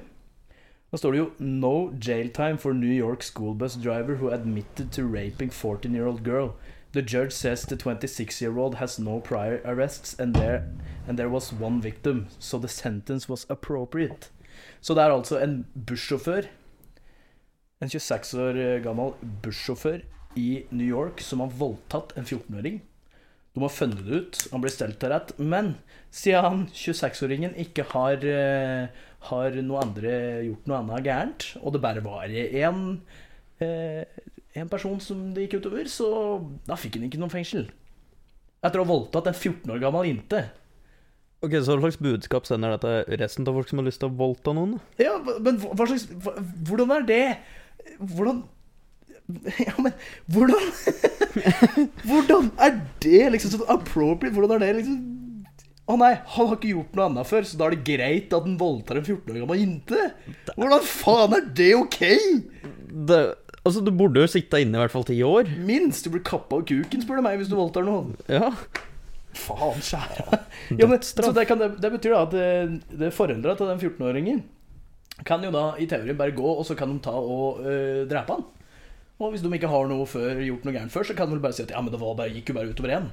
S2: Da står det jo 'No jail time for New York school bus driver who admitted to raping 14 year old girl'. The judge says the 26 year old has no prior arrests and there, and there was one victim, so the sentence was appropriate. Så det er altså en bussjåfør, en 26 år eh, gammel bussjåfør i New York, som har voldtatt en 14-åring. De har funnet det ut, han blir stelt til rett, men siden han 26-åringen ikke har, eh, har noe andre, gjort noe annet gærent, og det bare var én eh, en person som det gikk utover, så da fikk han ikke noe fengsel. Etter å ha voldtatt en 14 år gammel jente.
S1: Ok, så hva slags budskap sender dette resten av folk som har lyst til å voldta noen? da?
S2: Ja, men hva hva slags hva, Hvordan er det Hvordan Ja, men hvordan Hvordan er det liksom så appropriate? Hvordan er det liksom Å nei, han har ikke gjort noe annet før, så da er det greit at han voldtar en 14 år gammel jente? Hvordan faen er det ok?
S1: Det, altså, du burde jo sitte inne i hvert fall ti år.
S2: Minst du blir kappa av kuken, spør du meg, hvis du voldtar noen.
S1: Ja.
S2: Faen skjæra. Ja, men, så det, kan, det betyr da at eh, det, det foreldra til den 14-åringen kan jo da i teorien bare gå, og så kan de ta og øh, drepe han. Og hvis de ikke har noe før, gjort noe gærent før, så kan de vel bare si at ja, men det var bare, gikk jo bare utover én.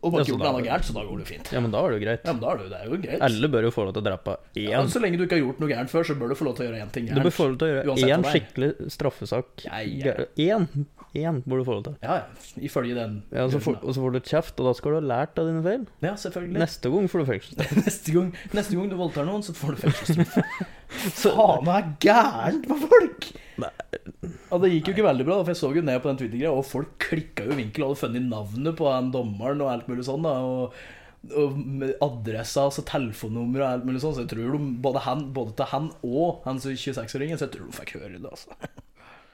S2: Og
S1: Ja,
S2: man har
S1: så
S2: ikke gjort
S1: da-
S2: noe annet gærent, så da går det jo fint.
S1: ja, men da er det jo greit.
S2: Ja, men da er det, jo- det er jo greit.
S1: Alle bør jo få lov til å drepe
S2: Ja, altså,
S1: én.
S2: så lenge du ikke har gjort noe gærent før, så bør du få lov til å gjøre én ting
S1: Du bør
S2: gærent.
S1: få lov til å gjøre
S2: Uansett
S1: én
S2: hva det er.
S1: skikkelig straffesak.
S2: Ja, ja.
S1: Gæ- Én! Én burde du få lov til.
S2: Ja, ja, ifølge den.
S1: Ja, så får, og så får du kjeft, og da skal du ha lært av dine feil.
S2: ja selvfølgelig.
S1: Neste gang får du fengsel.
S2: Neste gang, neste gang du voldtar noen, så får du fengselsstraff.
S1: Så-
S2: Faen, det er gærent med folk!
S1: Nei.
S2: Ja, Det gikk jo ikke veldig bra, da, for jeg så jo ned på den Twitter-greia, og folk klikka jo i vinkel og hadde funnet navnet på den dommeren og alt mulig sånn. da, og og med adressa altså telefonnummer og alt mulig sånn, så jeg tror de, både, han, både til han og han som er 26-åringen, så jeg tror de fikk høre det, altså.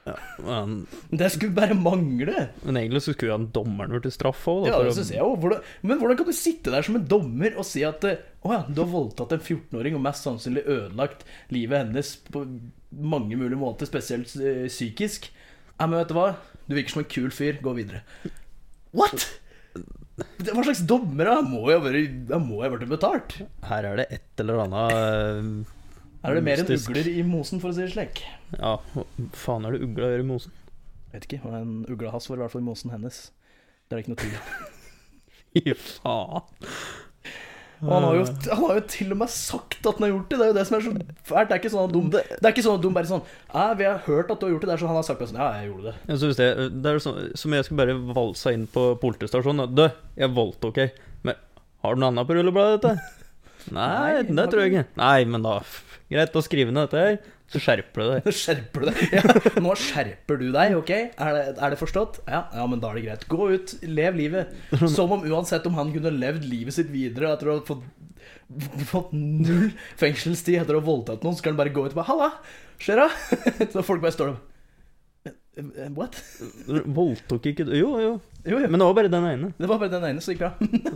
S1: Men,
S2: Men Det skulle bare mangle!
S1: men egentlig så skulle jo han dommeren blitt straffa òg.
S2: Ja, det synes jeg også. Hvordan, Men hvordan kan du sitte der som en dommer og si at eh, Å ja, du har voldtatt en 14-åring og mest sannsynlig ødelagt livet hennes på mange mulige måter, spesielt eh, psykisk. Nei, men vet du hva? Du virker som en kul fyr. Gå videre. What?! Det- Hva slags dommer? da? Jeg må jo være- jeg må jo ha vært betalt.
S1: Her er det et eller annet
S2: Her er det mer enn
S1: Mystisk.
S2: ugler i mosen, for å si det slik.
S1: eh, Ja, hva faen er det ugla gjør i mosen?
S2: Vet ikke, men ugla hans var i hvert fall i mosen hennes. Det er det ikke noe tvil om.
S1: Fy faen.
S2: Og han har, jo, han har jo til og med sagt at han har gjort det. Det er jo det som er så fælt. Det er ikke sånn at de, det er ikke sånn at de bare sånn Æ, vi har hørt at du har gjort det. Det er sånn han har sagt bare sånn Ja, jeg gjorde det.
S1: Ja, så hvis jeg, det er jo sånn, som jeg skulle bare valsa inn på politistasjonen. og, Du, jeg voldtok ei. Men har du noe annet på rullebladet, dette? Nei,
S2: Nei,
S1: det
S2: har
S1: tror jeg
S2: du-
S1: ikke. Nei, men da f- Greit, da skriver ned dette her, så skjerper du deg.
S2: Nå skjerper du deg. Ja, nå skjerper du deg, OK? Er det, er det forstått? Ja, ja, men da er det greit. Gå ut, lev livet. Som om uansett om han kunne levd livet sitt videre etter å ha fått, fått null fengselstid etter å ha voldtatt noen, så kan han bare gå ut og bare 'Halla, skjer det?' Så folk bare står der eh, What?
S1: Voldtok ikke du Jo, jo.
S2: Jo, jo.
S1: Men det var bare den ene.
S2: Det var bare den ene som gikk bra.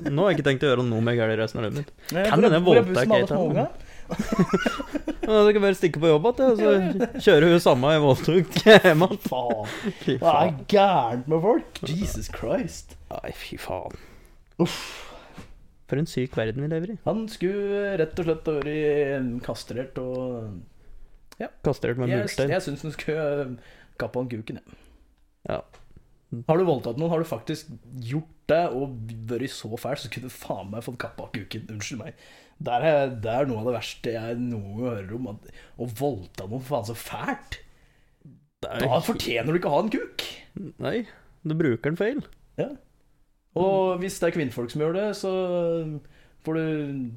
S1: Nå har jeg ikke tenkt å gjøre noe med galt resten av livet mitt.
S2: Nei,
S1: Kan
S2: hvor er-
S1: hende
S2: hvor er
S1: voldtekt
S2: bussen med
S1: jeg
S2: alle
S1: tar,
S2: små
S1: men-
S2: unga?
S1: Men da skal jeg bare stikke på jobb igjen, og så kjører hun samme jeg voldtok hjem igjen.
S2: Faen.
S1: Fy
S2: Hva er
S1: faen.
S2: gærent med folk? Jesus Christ.
S1: Nei, fy faen. For en syk verden vi lever i.
S2: Han skulle rett og slett vært kastrert og
S1: Kastrert med
S2: Jeg,
S1: murstein.
S2: jeg syns han skulle kappa han kuken, jeg.
S1: Ja.
S2: Har du voldtatt noen, har du faktisk gjort det og vært så fæl, så kunne du faen meg fått kappa av kuken. Unnskyld meg. Det er, eh, det er noe av det verste jeg noen gang hører om. At, å voldta noen, faen så fælt.
S1: Det er
S2: Da
S1: jo-
S2: fortjener du ikke å ha en kuk.
S1: Nei, du bruker den feil.
S2: Ja. Og hvis det er kvinnfolk som gjør det, så får du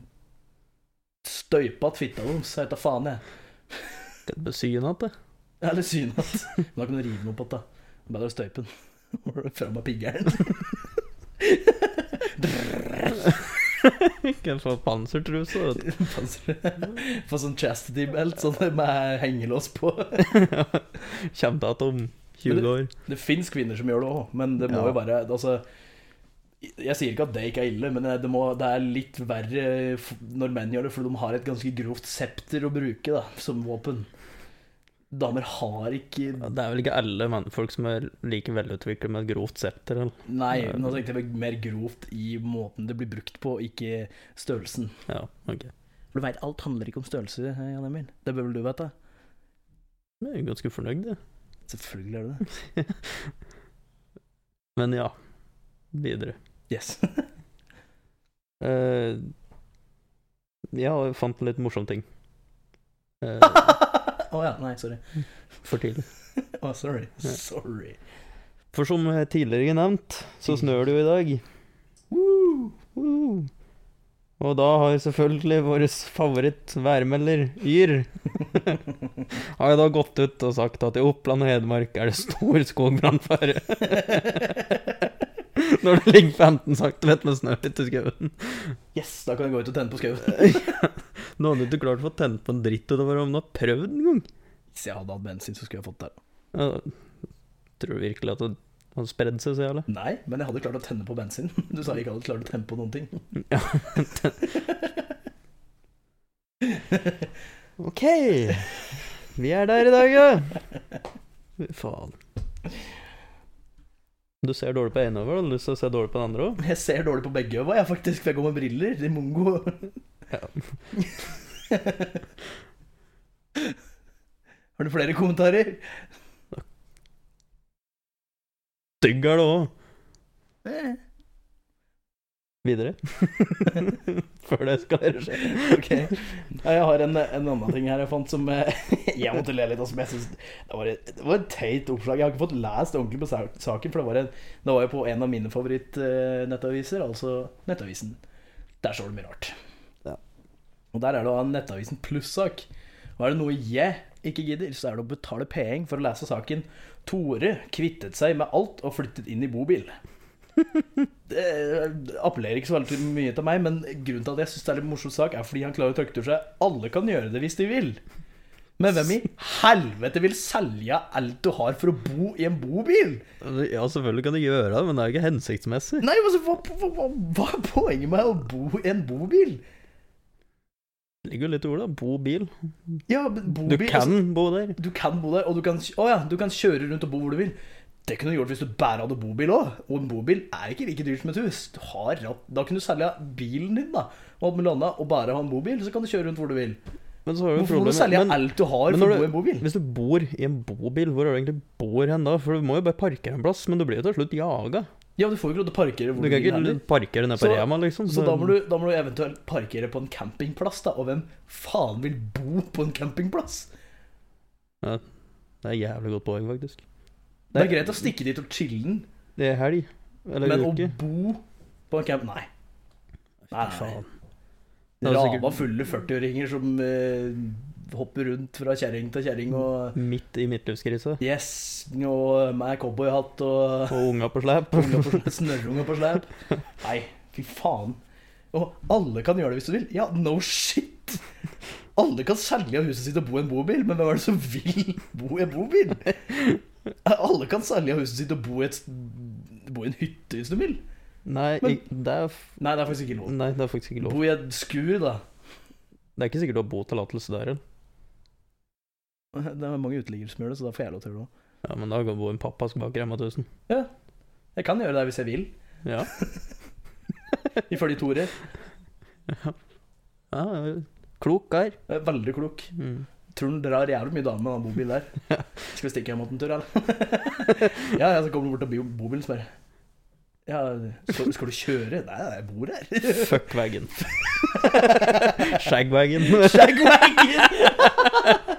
S2: støypa at fitta deres, jeg vet da faen jeg.
S1: Skal du besy henne igjen, da?
S2: Eller synat. Men da kan du rive noe på det. Det er Bedre å støype den. Får du Fram av piggeren.
S1: Ikke en sånn pansertruse. vet du.
S2: Få sånn chastity belt sånn med hengelås på.
S1: Kjem til at om 20 år.
S2: Det fins kvinner som gjør det òg, men det må
S1: Ja.
S2: jo være altså, Jeg sier ikke at det ikke er ille, men det, må, det er litt verre f- når menn gjør det, for de har et ganske grovt septer å bruke da, som våpen. Damer har ikke
S1: Ja, Det er vel ikke alle mannfolk som er like velutviklet med et grovt septer. Eller?
S2: Nei, nå tenkte jeg mer grovt i måten det blir brukt på, ikke størrelsen.
S1: Ja, ok.
S2: For du veit, alt handler ikke om størrelse, eh, Jan Emil. Det bør vel du vite?
S1: Jeg er jo ganske fornøyd, jeg.
S2: Selvfølgelig er det det.
S1: Men ja, videre.
S2: Yes.
S1: Eh, jeg fant en litt morsom ting. Eh,
S2: Å ja, nei, sorry.
S1: for tidlig.
S2: Å, sorry.
S1: Ja.
S2: Sorry.
S1: For som tidligere nevnt, så snør det jo i dag.
S2: Woo!
S1: Woo! Og da har selvfølgelig vår favoritt-værmelder, Yr, har jo da gått ut og sagt at i Oppland og Hedmark er det stor skogbrannfare. Når det ligger 15 cm med snø ute i skauen.
S2: Yes, da kan jeg gå ut og tenne på skauen.
S1: Nå hadde du ikke klart å få tent på en dritt utover om du har prøvd en gang.
S2: Hvis jeg hadde hatt bensin, så skulle jeg fått det.
S1: Ja, tror du virkelig at det har spredd seg så jævlig?
S2: Nei, men jeg hadde klart å tenne på bensin. Du sa jeg ikke hadde klart å tenne på noen ting.
S1: Ja, Ok, vi er der i dag, ja. Fy Faen. Du ser dårlig på ene over, har du lyst til å se dårlig på den andre òg?
S2: Jeg ser dårlig på begge øva, jeg faktisk, for jeg går med briller. Det er mongo. Har du flere kommentarer?
S1: Stygg er du òg.
S2: Eh,
S1: Videre. Før det eskalerer seg.
S2: Ok. Ja, Jeg har en, en annen ting her jeg fant som eh, Jeg måtte le litt. Altså, men jeg synes, det var, et, det var et teit oppslag. Jeg har ikke fått lest ordentlig på sa- saken, for det var, en, det var jo på en av mine favorittnettaviser, altså Nettavisen. Der står det mye rart.
S1: Ja.
S2: Og der er det da Nettavisen pluss-sak. Og er det noe jeg ikke gidder, så er det å betale penger for å lese saken 'Tore kvittet seg med alt og flyttet inn i bobil'. Det Eh, appellerer ikke så veldig mye til meg, men grunnen til at jeg syns det er litt morsom sak, er fordi han klarer å trykke til seg Alle kan gjøre det hvis de vil. Men hvem i helvete vil selge alt du har for å bo i en bobil?
S1: Ja, selvfølgelig kan du gjøre det, men det er jo ikke hensiktsmessig.
S2: Nei, altså, hva, hva, hva, hva er poenget med å bo i en bobil?
S1: Det ligger jo litt i ordet. da. Bo bil.
S2: Ja, men
S1: Du
S2: bobil altså,
S1: kan bo der.
S2: du kan bo der, og du kan, å ja, du kan kjøre rundt og bo hvor du vil. Det kunne du gjort hvis du bare hadde bobil òg. Og en bobil er ikke like dyrt som et hus. Du har, ratt- da kunne du selge bilen din da, og alt mulig annet, og bare ha en bobil, så kan du kjøre rundt hvor du vil.
S1: Men så har du
S2: Hvorfor må du
S1: problemet-
S2: selge
S1: men-
S2: alt du har
S1: men
S2: for
S1: når du-
S2: å bo i en bobil?
S1: Hvis du bor i en bobil, hvor er du egentlig bor hen da? For du må jo bare parkere en plass, men du blir jo til slutt jaga.
S2: Ja, du får jo ikke lov til å parkere hvor
S1: Du
S2: du
S1: kan
S2: vil
S1: ikke
S2: heller.
S1: parkere ned på
S2: Så-
S1: Rema, liksom.
S2: Så da må, du, da må du eventuelt parkere på en campingplass, da. Og hvem faen vil bo på en campingplass?
S1: Det er jævlig godt poeng, faktisk.
S2: Det er greit å stikke dit og chille den,
S1: Det er helg. Eller
S2: men å
S1: uke.
S2: bo på en camp... Nei. Nei,
S1: Fy
S2: nei.
S1: faen. Det er sikkert-
S2: Rava fulle 40-åringer som eh, hopper rundt fra kjerring til kjerring og
S1: Midt i midtlivskrisa.
S2: Yes, og meg cowboyhatt og
S1: Og unga på slep.
S2: Unga på slep, Snørrunga på slep. Nei, fy faen. Og alle kan gjøre det hvis du vil. Ja, no shit! Alle kan selge av huset sitt og bo i en bobil, men hvem er det som vil bo i en bobil? Alle kan selge av huset sitt og bo i, et, bo i en hytte hvis du vil.
S1: Nei,
S2: Men-
S1: ik- det er f
S2: Nei, det er faktisk ikke lov.
S1: Nei, det er faktisk ikke lov.
S2: Bo i et skur, da.
S1: Det er ikke sikkert du har botillatelse der heller.
S2: Det er mange uteliggere som gjør det, så da får jeg lov til å gjøre det òg.
S1: Ja, men da kan du bo i en pappask bak Rema 1000.
S2: Jeg kan gjøre det hvis jeg vil,
S1: Ja.
S2: ifølge Tore.
S1: ja ja. klok er.
S2: Jeg er Veldig klok.
S1: Mm.
S2: Tror han drar jævlig mye damer med den bobilen der. Skal vi stikke hjem en tur, eller? ja, ja, så kommer han bort til bi- bobilen og spør. Ja, skal, skal du kjøre? Nei, nei, jeg bor her.
S1: Fuckwagon. Shagwagon.
S2: Shagwagon!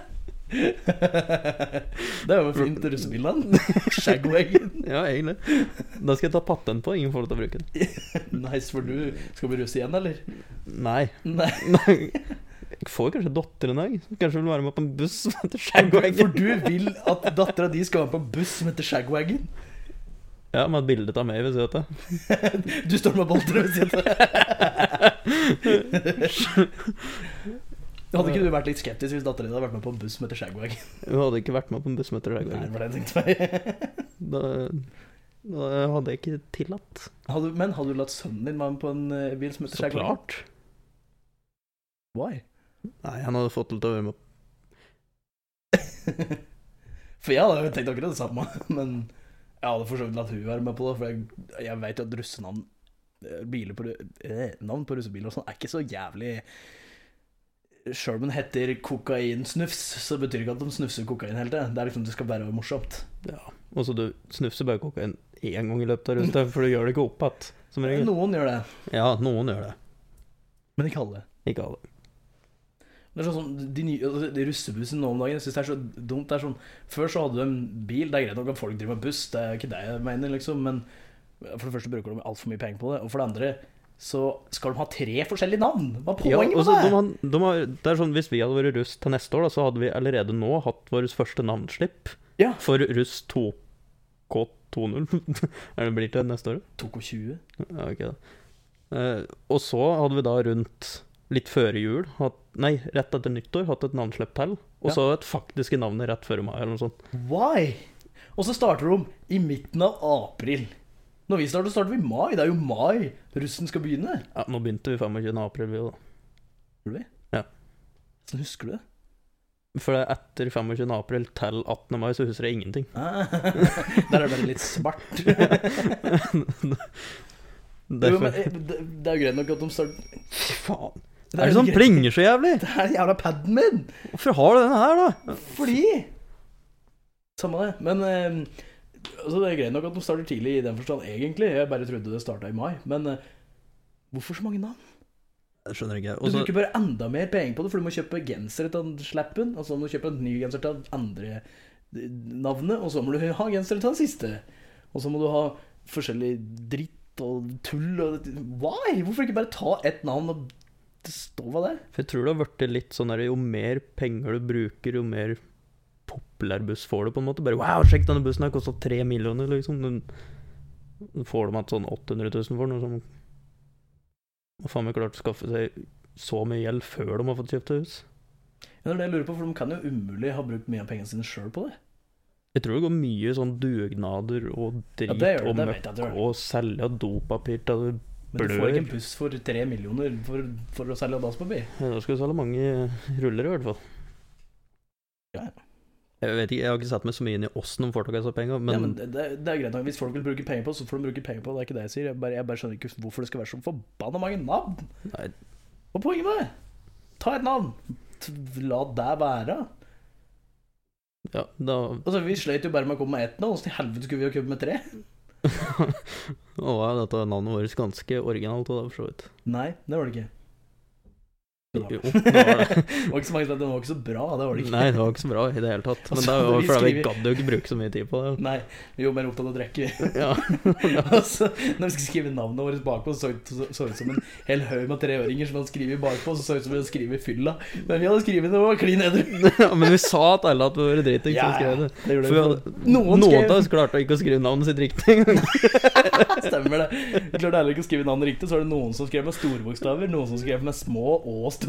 S2: det er jo fint russebilnavn. Shagwagon.
S1: Ja, egentlig. Da skal jeg ta patent på. Ingen får lov til å bruke den.
S2: Nice, for du skal bli russ igjen, eller?
S1: Nei.
S2: Nei,
S1: Nei. Jeg får kanskje datter en dag. som Kanskje vil være med på en buss som heter
S2: for
S1: Shagwagon.
S2: du vil at dattera di skal være på en buss som heter Shagwagon?
S1: Ja, med et bilde av meg ved siden av.
S2: Du står med bolter ved siden av. Hadde ikke du vært litt skeptisk hvis datteren din hadde vært med på en buss som heter Shagwag?
S1: Hun hadde ikke vært med på en buss som heter
S2: Nei, det
S1: Shagwagon.
S2: var det jeg tenkte meg.
S1: Da Det hadde jeg ikke tillatt.
S2: Hadde, men hadde du latt sønnen din være med på en eh, bil som heter
S1: Så
S2: Skjærgården?
S1: klart.
S2: Why?
S1: Nei, han hadde fått til til å være med.
S2: for jeg hadde jo tenkt akkurat det samme, men jeg hadde for så vidt latt hun være med på det, for jeg, jeg vet jo at russenavn eh, biler på, ru- eh, Navn på russebiler og sånn er ikke så jævlig Sjøl om den heter kokainsnufs, så betyr det ikke at de snufser kokain hele tiden. Det er liksom det skal bare være morsomt.
S1: Og så du snufser bare kokain én gang i løpet av runden, for du gjør det ikke opp igjen, som regel.
S2: Noen gjør det,
S1: Ja, noen gjør det.
S2: men ikke alle.
S1: Ikke alle.
S2: Det er sånn, som de, nye, altså, de russebussene nå om dagen, jeg synes det er så dumt. Det er sånn, før så hadde du en bil, det er greit nok at folk driver med buss, det er ikke det jeg mener, liksom, men for det første bruker de altfor mye penger på det, og for det andre så skal de ha tre forskjellige navn! Hva er
S1: Ja,
S2: poenget
S1: og
S2: med
S1: så
S2: det?
S1: de har- de har- det er sånn, Hvis vi hadde vært russ til neste år, da, så hadde vi allerede nå hatt vårt første navnslipp
S2: Ja.
S1: for russ 2K20. er det blir til neste år?
S2: Tok hun 20?
S1: Ja, ok da. Eh, og så hadde vi da rundt litt før jul, hatt, nei, rett etter nyttår, hatt et navnslipp til. Og
S2: Ja.
S1: så et faktiske navnet rett før mai, eller noe sånt.
S2: Why? Og så starter de i midten av april. Når vi starter, starter vi i mai. Det er jo mai russen skal begynne.
S1: Ja, nå begynte vi 25. april, vi jo da.
S2: Gjorde vi?
S1: Ja.
S2: Sånn husker du det?
S1: For det er etter 25. april til 18. mai, så husker jeg ingenting.
S2: Ah, der er det bare litt svart. Jo, men,
S1: Derfor,
S2: eh, det, det er jo greit nok at de starter
S1: fy faen.
S2: Det
S1: Er det sånn
S2: greit-
S1: plinger så jævlig?
S2: Det er den jævla paden min!
S1: Hvorfor har du denne her, da?
S2: Fordi Samme det. Men eh, altså, det er greit nok at de starter tidlig i den forstand, egentlig. Jeg bare trodde det starta i mai. Men eh, hvorfor så mange navn?
S1: Jeg skjønner ikke.
S2: Du
S1: Og så
S2: bruker bare enda mer penger på det, for du må kjøpe genser til den slappen, og så må du kjøpe en ny genser til den andre eh, navnet, og så må du ha genser til den siste. Og så må du ha forskjellig dritt og tull og Why? Hvorfor ikke bare ta ett navn og stå ved det?
S1: For jeg tror det har blitt litt sånn der, jo mer penger du bruker, jo mer populær buss får du, på en måte. Bare wow, sjekk denne bussen her, kosta tre millioner, liksom. Du du får dem at sånn 800 000 for den, og så Hva faen meg klart å skaffe seg så mye gjeld før de har fått kjøpt seg hus?
S2: Ja, det er det jeg lurer på, for de kan jo umulig ha brukt mye av pengene sine sjøl på det.
S1: Jeg tror det går mye sånn dugnader og drit
S2: det gjør det,
S1: og
S2: det vet jeg at det
S1: møkk og selge dopapir til du
S2: Men du får
S1: Blør.
S2: ikke en buss for tre millioner for, for å selge dasspapir.
S1: Ja, Da skal du selge mange eh, ruller, i hvert fall.
S2: Ja, ja.
S1: Jeg vet ikke, jeg har ikke satt meg så mye inn i åssen de får tak i disse pengene,
S2: Men,
S1: men,
S2: ja, men det, det det er greit nok. Hvis folk vil bruke penger på det, så får de bruke penger på det. Det er ikke det jeg sier. Jeg bare, jeg bare skjønner ikke hvorfor det skal være så forbanna mange navn.
S1: Nei.
S2: Hva er poenget med det? Ta et navn. T- La det være.
S1: ja, da
S2: Altså, Vi sleit jo bare med å komme med ett navn. Åssen i helvete skulle vi ha kommet med tre?
S1: Nå er dette navnet vårt ganske originalt, og det er for så vidt.
S2: Nei, det var det ikke. Jo da.
S1: Jo, det var det.
S2: Det var ikke så mange som sa at den var ikke så bra. Det var det ikke.
S1: Nei, det var ikke så bra i det hele tatt. Men
S2: Altså,
S1: det var
S2: vi
S1: fordi vi
S2: skriver-
S1: gadd jo ikke bruke så mye tid på det.
S2: Nei, vi var mer opptatt av å drikke.
S1: Ja,
S2: altså, når vi skal skrive navnet vårt bakpå, så så- så ut som en hel haug med treåringer som hadde skrevet bakpå, så så ut som vi hadde skrevet i fylla. Men vi hadde skrevet det og var klin edru.
S1: Ja, Men vi sa at alle at vi var dritings som
S2: Ja,
S1: skrev det.
S2: Det gjorde
S1: For vi
S2: vi.
S1: hadde,
S2: Noen
S1: noen
S2: skrev-
S1: av oss klarte ikke å skrive navnet sitt riktig.
S2: Stemmer det. Vi klarte heller ikke å skrive navnet riktig, så var det noen som skrev med store bokstaver, noen som skrev med små og store,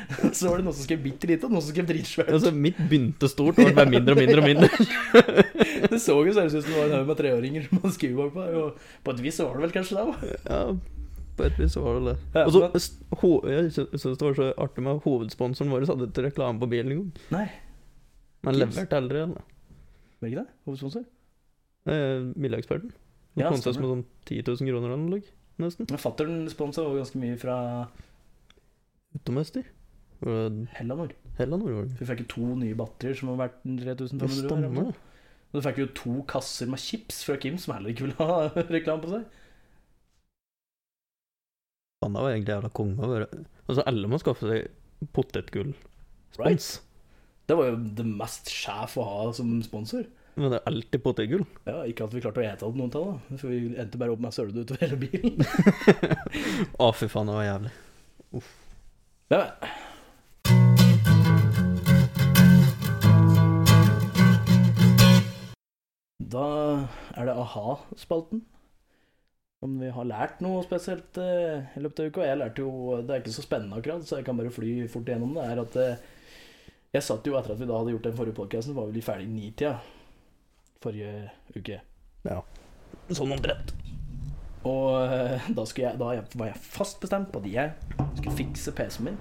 S2: så var det noen som skrev bitte lite, og noen som skrev dritsvært.
S1: Altså, mitt begynte stort og ble bare mindre og mindre og mindre.
S2: Det så jo seriøst ut som det var en haug med treåringer som hadde skrevet bakpå, og på et vis så var det vel kanskje det òg.
S1: Ja, på et vis så var det det.
S2: Ja,
S1: Og så,
S2: men-
S1: s- ho- jeg syns det var så artig med at hovedsponsoren vår hadde ikke reklame på bilen engang.
S2: Nei,
S1: Men
S2: Gips.
S1: leverte aldri igjen. da.
S2: var det ikke det? Hovedsponsor?
S1: Eh, Middagseksperten. Den
S2: Ja,
S1: kom til oss med
S2: stemmer.
S1: sånn 10 000 kroner eller noe, nesten.
S2: Fatter'n sponsa jo ganske mye fra
S1: Utomester. Var det
S2: Hellanor.
S1: Helland, var det?
S2: Vi fikk jo to nye batterier som har vært 3500
S1: Det
S2: år,
S1: stemmer,
S2: eller noe.
S1: det.
S2: Og du fikk jo to kasser med chips fra Kim, som heller ikke ville ha reklame på seg.
S1: Faen, det var egentlig jævla konge å være Altså, alle må skaffe seg potetgull.
S2: Right?
S1: Spons.
S2: Det var jo det mest sjef å ha som sponsor.
S1: Men det er alltid potetgull.
S2: Ja, Ikke at vi klarte å ete opp noen av det, for vi endte bare opp med søle det utover hele bilen.
S1: Å, fy faen, det var jævlig.
S2: Ja. Da er det a-ha-spalten. Om vi har lært noe spesielt eh, i løpet av uka. Jeg lærte jo Det er ikke så spennende akkurat, så jeg kan bare fly fort igjennom det. er at eh, Jeg satt jo etter at vi da hadde gjort den forrige podkasten, var vi ferdig i nitida forrige uke.
S1: Ja. Sånn omtrent.
S2: Og eh, da, skulle jeg, da jeg- var jeg fast bestemt på at jeg skulle fikse PC-en min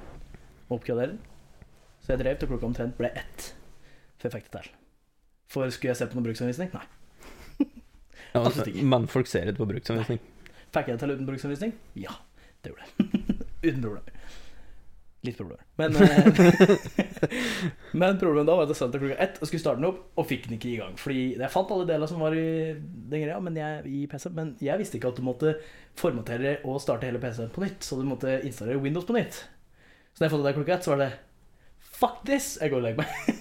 S2: og oppgradere den. Så jeg drev til klokka omtrent ble ett før jeg fikk det til. For skulle jeg se på noen bruksanvisning? Nei.
S1: Ja, altså,
S2: Absolutt ikke.
S1: men folk ser ikke på bruksanvisning.
S2: Fikk jeg det til uten bruksanvisning? Ja, det gjorde jeg. uten problemer. Litt problemer. Men, eh, men problemet da var at jeg satt til klokka ett og skulle starte den opp, og fikk den ikke i gang. Fordi jeg fant alle deler som var i den greia men jeg, i PC, men jeg visste ikke at du måtte formatere og starte hele PC-en på nytt. Så du måtte installere Windows på nytt. Så da jeg fant det der klokka ett, så var det Fuck this! Jeg går og legger meg.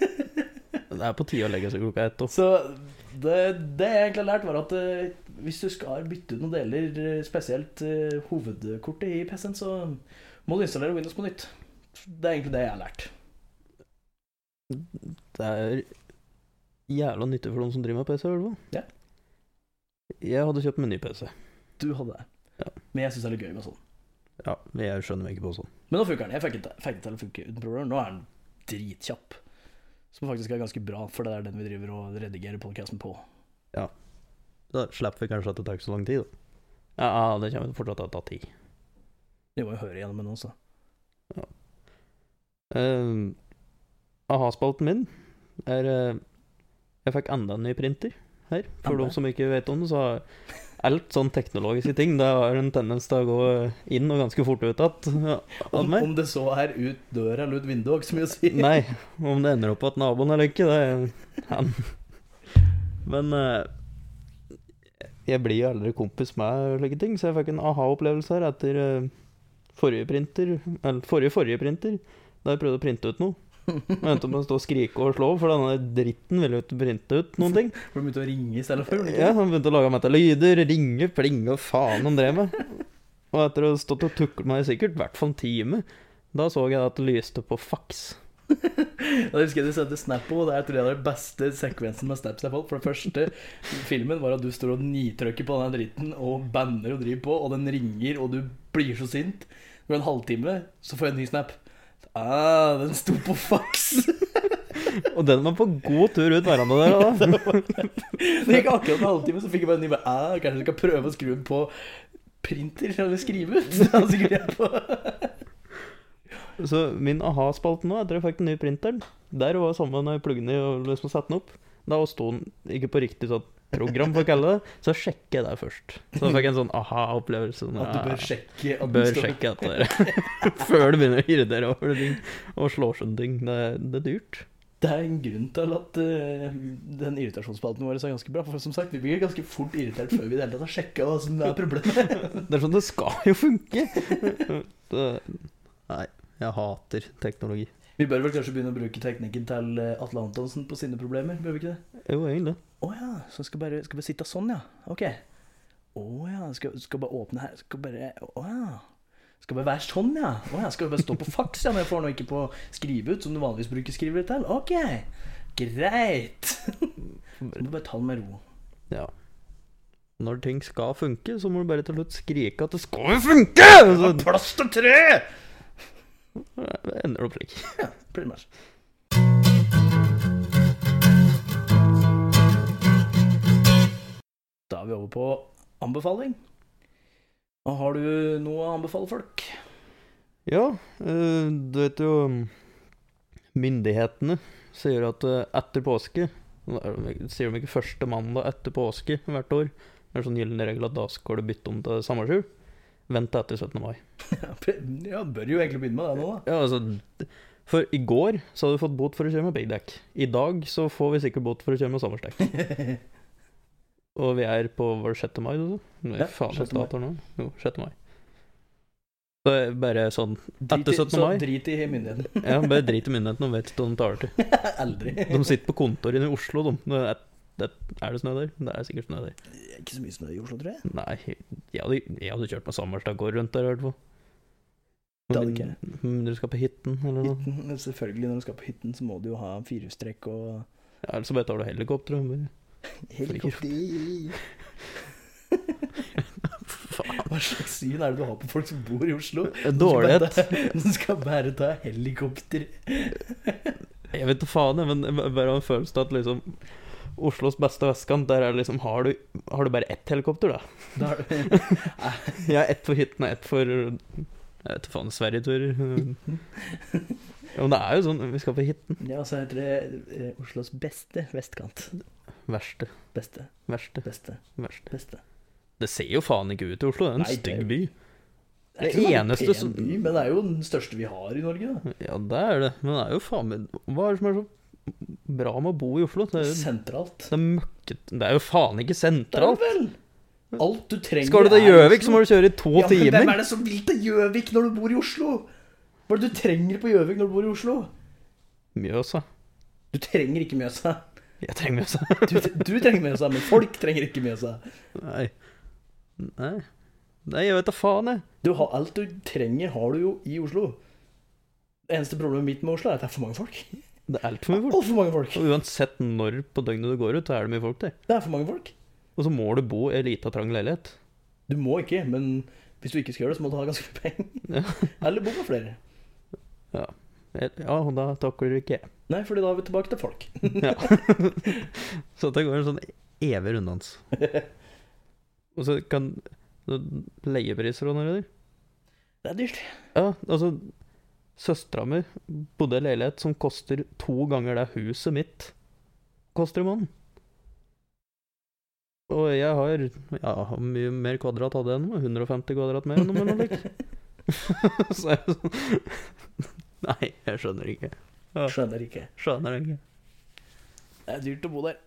S1: Det er på tide å legge seg klokka ett. og-
S2: Så det, det jeg egentlig har lært, var at eh, hvis du skal bytte ut noen deler, eh, spesielt eh, hovedkortet i PC-en, så må du installere Windows på nytt. Det er egentlig det jeg har lært.
S1: Det er jævla nyttig for noen som driver med PC, i hvert fall.
S2: Ja.
S1: Jeg hadde kjøpt meg ny PC.
S2: Du hadde det.
S1: Ja.
S2: Men jeg syns det er litt gøy med sånn.
S1: Ja, men jeg skjønner meg ikke på sånn.
S2: Men nå funker den. Jeg fikk den til- fikk den til å funke uten problemer. Nå er den dritkjapp. Som faktisk er ganske bra, for det er den vi driver og redigerer podcasten på.
S1: Da slipper vi kanskje at det tar ikke så lang tid, da. Ja, ja, det kommer fortsatt til å ta tid.
S2: Vi må jo høre igjennom den også.
S1: Uh, Aha-spalten min er eh, Jeg fikk enda en ny printer her. For
S2: Enda?
S1: de som ikke vet om det, så har alt sånn teknologiske ting Det har en tendens til å gå inn og ganske fort ut igjen.
S2: Om, om det så er ut døra eller ut vinduet, har ikke så mye å si.
S1: Nei, om det ender opp at naboen eller ikke, det er han. Men eh, jeg blir jo aldri kompis med slike ting, så jeg fikk en aha-opplevelse her etter eh, forrige printer, eller forrige forrige printer, da jeg prøvde å printe ut noe. Jeg endte opp med å stå og skrike og slå, for denne dritten ville jo ikke printe ut noen ting.
S2: For de begynte å ringe i stedet for. gjorde de ikke
S1: Ja, han begynte å lage meg til lyder, ringe, plinge og faen han drev med. Og etter å ha stått og tuklet meg i sikkert i hvert fall en time, da så jeg at det lyste på faks.
S2: Da husker jeg du sendte snap på, og det er tror jeg det er den beste sekvensen med snaps jeg har fått. For det første filmen var at du står og nitrykker på den her dritten og banner og driver på, og den ringer, og du blir så sint. Det går en halvtime, så får jeg en ny snap. Ah, den sto på fax!
S1: Og den var på god tur ut hverandre der, da.
S2: Det gikk akkurat en halvtime, så fikk jeg bare en ny bare, ah, Kanskje du skal prøve å skru den på printer, eller skrive ut? Da skrur jeg på.
S1: Så min aha-spalte nå, etter jeg fikk den nye printeren Der var samme når jeg plugget den i og liksom satte den opp. Da sto den ikke på riktig sånn program, for å kalle det det. Så sjekker jeg det først. Så jeg fikk en sånn aha-opplevelse. Sånn,
S2: At du
S1: ja,
S2: bør sjekke. at den
S1: bør
S2: står-
S1: sjekke dette der. Før du begynner å irritere over ting og slå sånne ting. Det, det er dyrt.
S2: Det er en grunn til at eh, den irritasjonsspalten vår er ganske bra. For som sagt, vi blir ganske fort irritert før vi i det hele tatt har sjekka hva som er problemet.
S1: Det er sånn det skal jo funke. Det, nei, jeg hater teknologi.
S2: Vi bør vel kanskje begynne å bruke teknikken til eh, Atle Antonsen på sine problemer? Bør vi ikke det?
S1: Jo, egentlig.
S2: Å ja, så skal bare, skal bare sitte sånn, ja. Ok. Å ja, skal, skal bare åpne her. Skal bare Å ja. Skal bare være sånn, ja. Å ja, skal bare stå på faks, ja, men jeg får nå ikke på skrive ut, som du vanligvis bruker skrive ut til. Ok. Greit. Så må du bare ta det med ro.
S1: Ja. Når ting skal funke, så må du bare til slutt skrike at det skal jo funke! Så
S2: Plass til tre!
S1: det ender opp slik.
S2: Pretty much. Da er vi over på anbefaling. Og har du noe å anbefale folk?
S1: Ja, eh, du vet jo Myndighetene sier at eh, etter påske nå er det- Sier de ikke første mandag etter påske hvert år? Det er sånn gyllen regel at da skal du bytte om til sommerskjul. Vent til etter 17. mai.
S2: Ja, bør jo egentlig begynne med det nå, da.
S1: Ja, altså d- For i går så hadde vi fått bot for å kjøre med piggdekk. I dag så får vi sikkert bot for å kjøre med sommerdekk. Og vi er på var det 6. mai, du sa? Nei,
S2: Ja,
S1: faen,
S2: 6.
S1: 6. Mai. Nå. Jo, 6. mai. Så det er bare sånn Etter 17.
S2: så
S1: mai?
S2: drit i myndighetene.
S1: Ja, bare drit i myndighetene, de vet ikke hva de taler til.
S2: Aldri.
S1: De sitter på kontoret inne i Oslo, de. Det er, det, er det snø der? Det er sikkert snø der.
S2: Det er ikke så mye snø i Oslo, tror jeg.
S1: Nei, jeg hadde, jeg hadde kjørt med sommerstakkår rundt der, i hvert fall.
S2: Det hadde ikke jeg.
S1: Med mindre du skal på hytten eller noe.
S2: Hytten, men selvfølgelig, når du skal på hytten, så må du jo ha firehjulstrekk og
S1: Ja, Ellers så bare tar du helikopter. og bare-
S2: helikopter.
S1: Faen.
S2: Hva slags syn er det du har på folk som bor i Oslo?
S1: Dårlighet.
S2: Du skal bare ta helikopter.
S1: Jeg vet da faen, jeg, men jeg bare har en følelse av at liksom Oslos beste vestkant, der er det liksom Har du, har du bare ett helikopter, da?
S2: Da er det
S1: Jeg har ett for hytten og ett for Jeg vet ikke faen, Sverigetur. Ja, men det er jo sånn Vi skal på hytten.
S2: Ja, så heter det eh, Oslos beste vestkant.
S1: Verste,
S2: Beste,
S1: verste,
S2: beste,
S1: verste.
S2: beste.
S1: Det ser jo faen ikke ut i Oslo. Det er en
S2: Nei, det er
S1: stygg
S2: jo-
S1: by. Det
S2: ikke sånn
S1: eneste
S2: pen
S1: som-
S2: by, Men det er jo den største vi har i Norge, da.
S1: Ja, det er det. Men det er jo faen meg Hva er det som er så bra med å bo i Oslo? Det er jo
S2: Sentralt.
S1: det er møkket Det er jo faen ikke
S2: Det er jo
S1: sentralt.
S2: vel Alt du trenger liksom-
S1: Skal du til Gjøvik, så må du kjøre i to
S2: Ja, men hvem
S1: timer.
S2: er det som vil til Gjøvik når du bor i Oslo? Hva er det du trenger på Gjøvik når du bor i Oslo?
S1: Mjøsa.
S2: Du trenger ikke Mjøsa.
S1: Jeg trenger Mjøsa.
S2: Du, du trenger Mjøsa, men folk trenger ikke Mjøsa.
S1: Nei. Nei. Nei, jeg vet da faen, jeg.
S2: Du har, alt du trenger, har du jo i Oslo. Det eneste problemet mitt med Oslo er at det er for mange folk.
S1: Det er altfor mye folk.
S2: Altfor mange folk.
S1: Og uansett når på døgnet du går ut, så er det mye folk der.
S2: Det er for mange folk.
S1: Og så må du bo i ei lita, trang leilighet.
S2: Du må ikke, men hvis du ikke skal gjøre det, så må du ha ganske mye penger. Eller bo med flere.
S1: Ja, og da takler du ikke jeg.
S2: Nei, fordi da er vi tilbake til folk.
S1: Ja. så det går en sånn evig runddans. Og så kan leiepriser og noe der.
S2: Det er dyrt.
S1: Ja, altså Søstera mi bodde i en leilighet som koster to ganger det huset mitt koster i måneden. Og jeg har ja, mye mer kvadrat hadde jeg nå. 150 kvadrat mer enn noe slikt. Så er det sånn Nei, jeg skjønner ikke.
S2: Skjønner ikke.
S1: Skjønner ikke.
S2: Det er dyrt å bo der.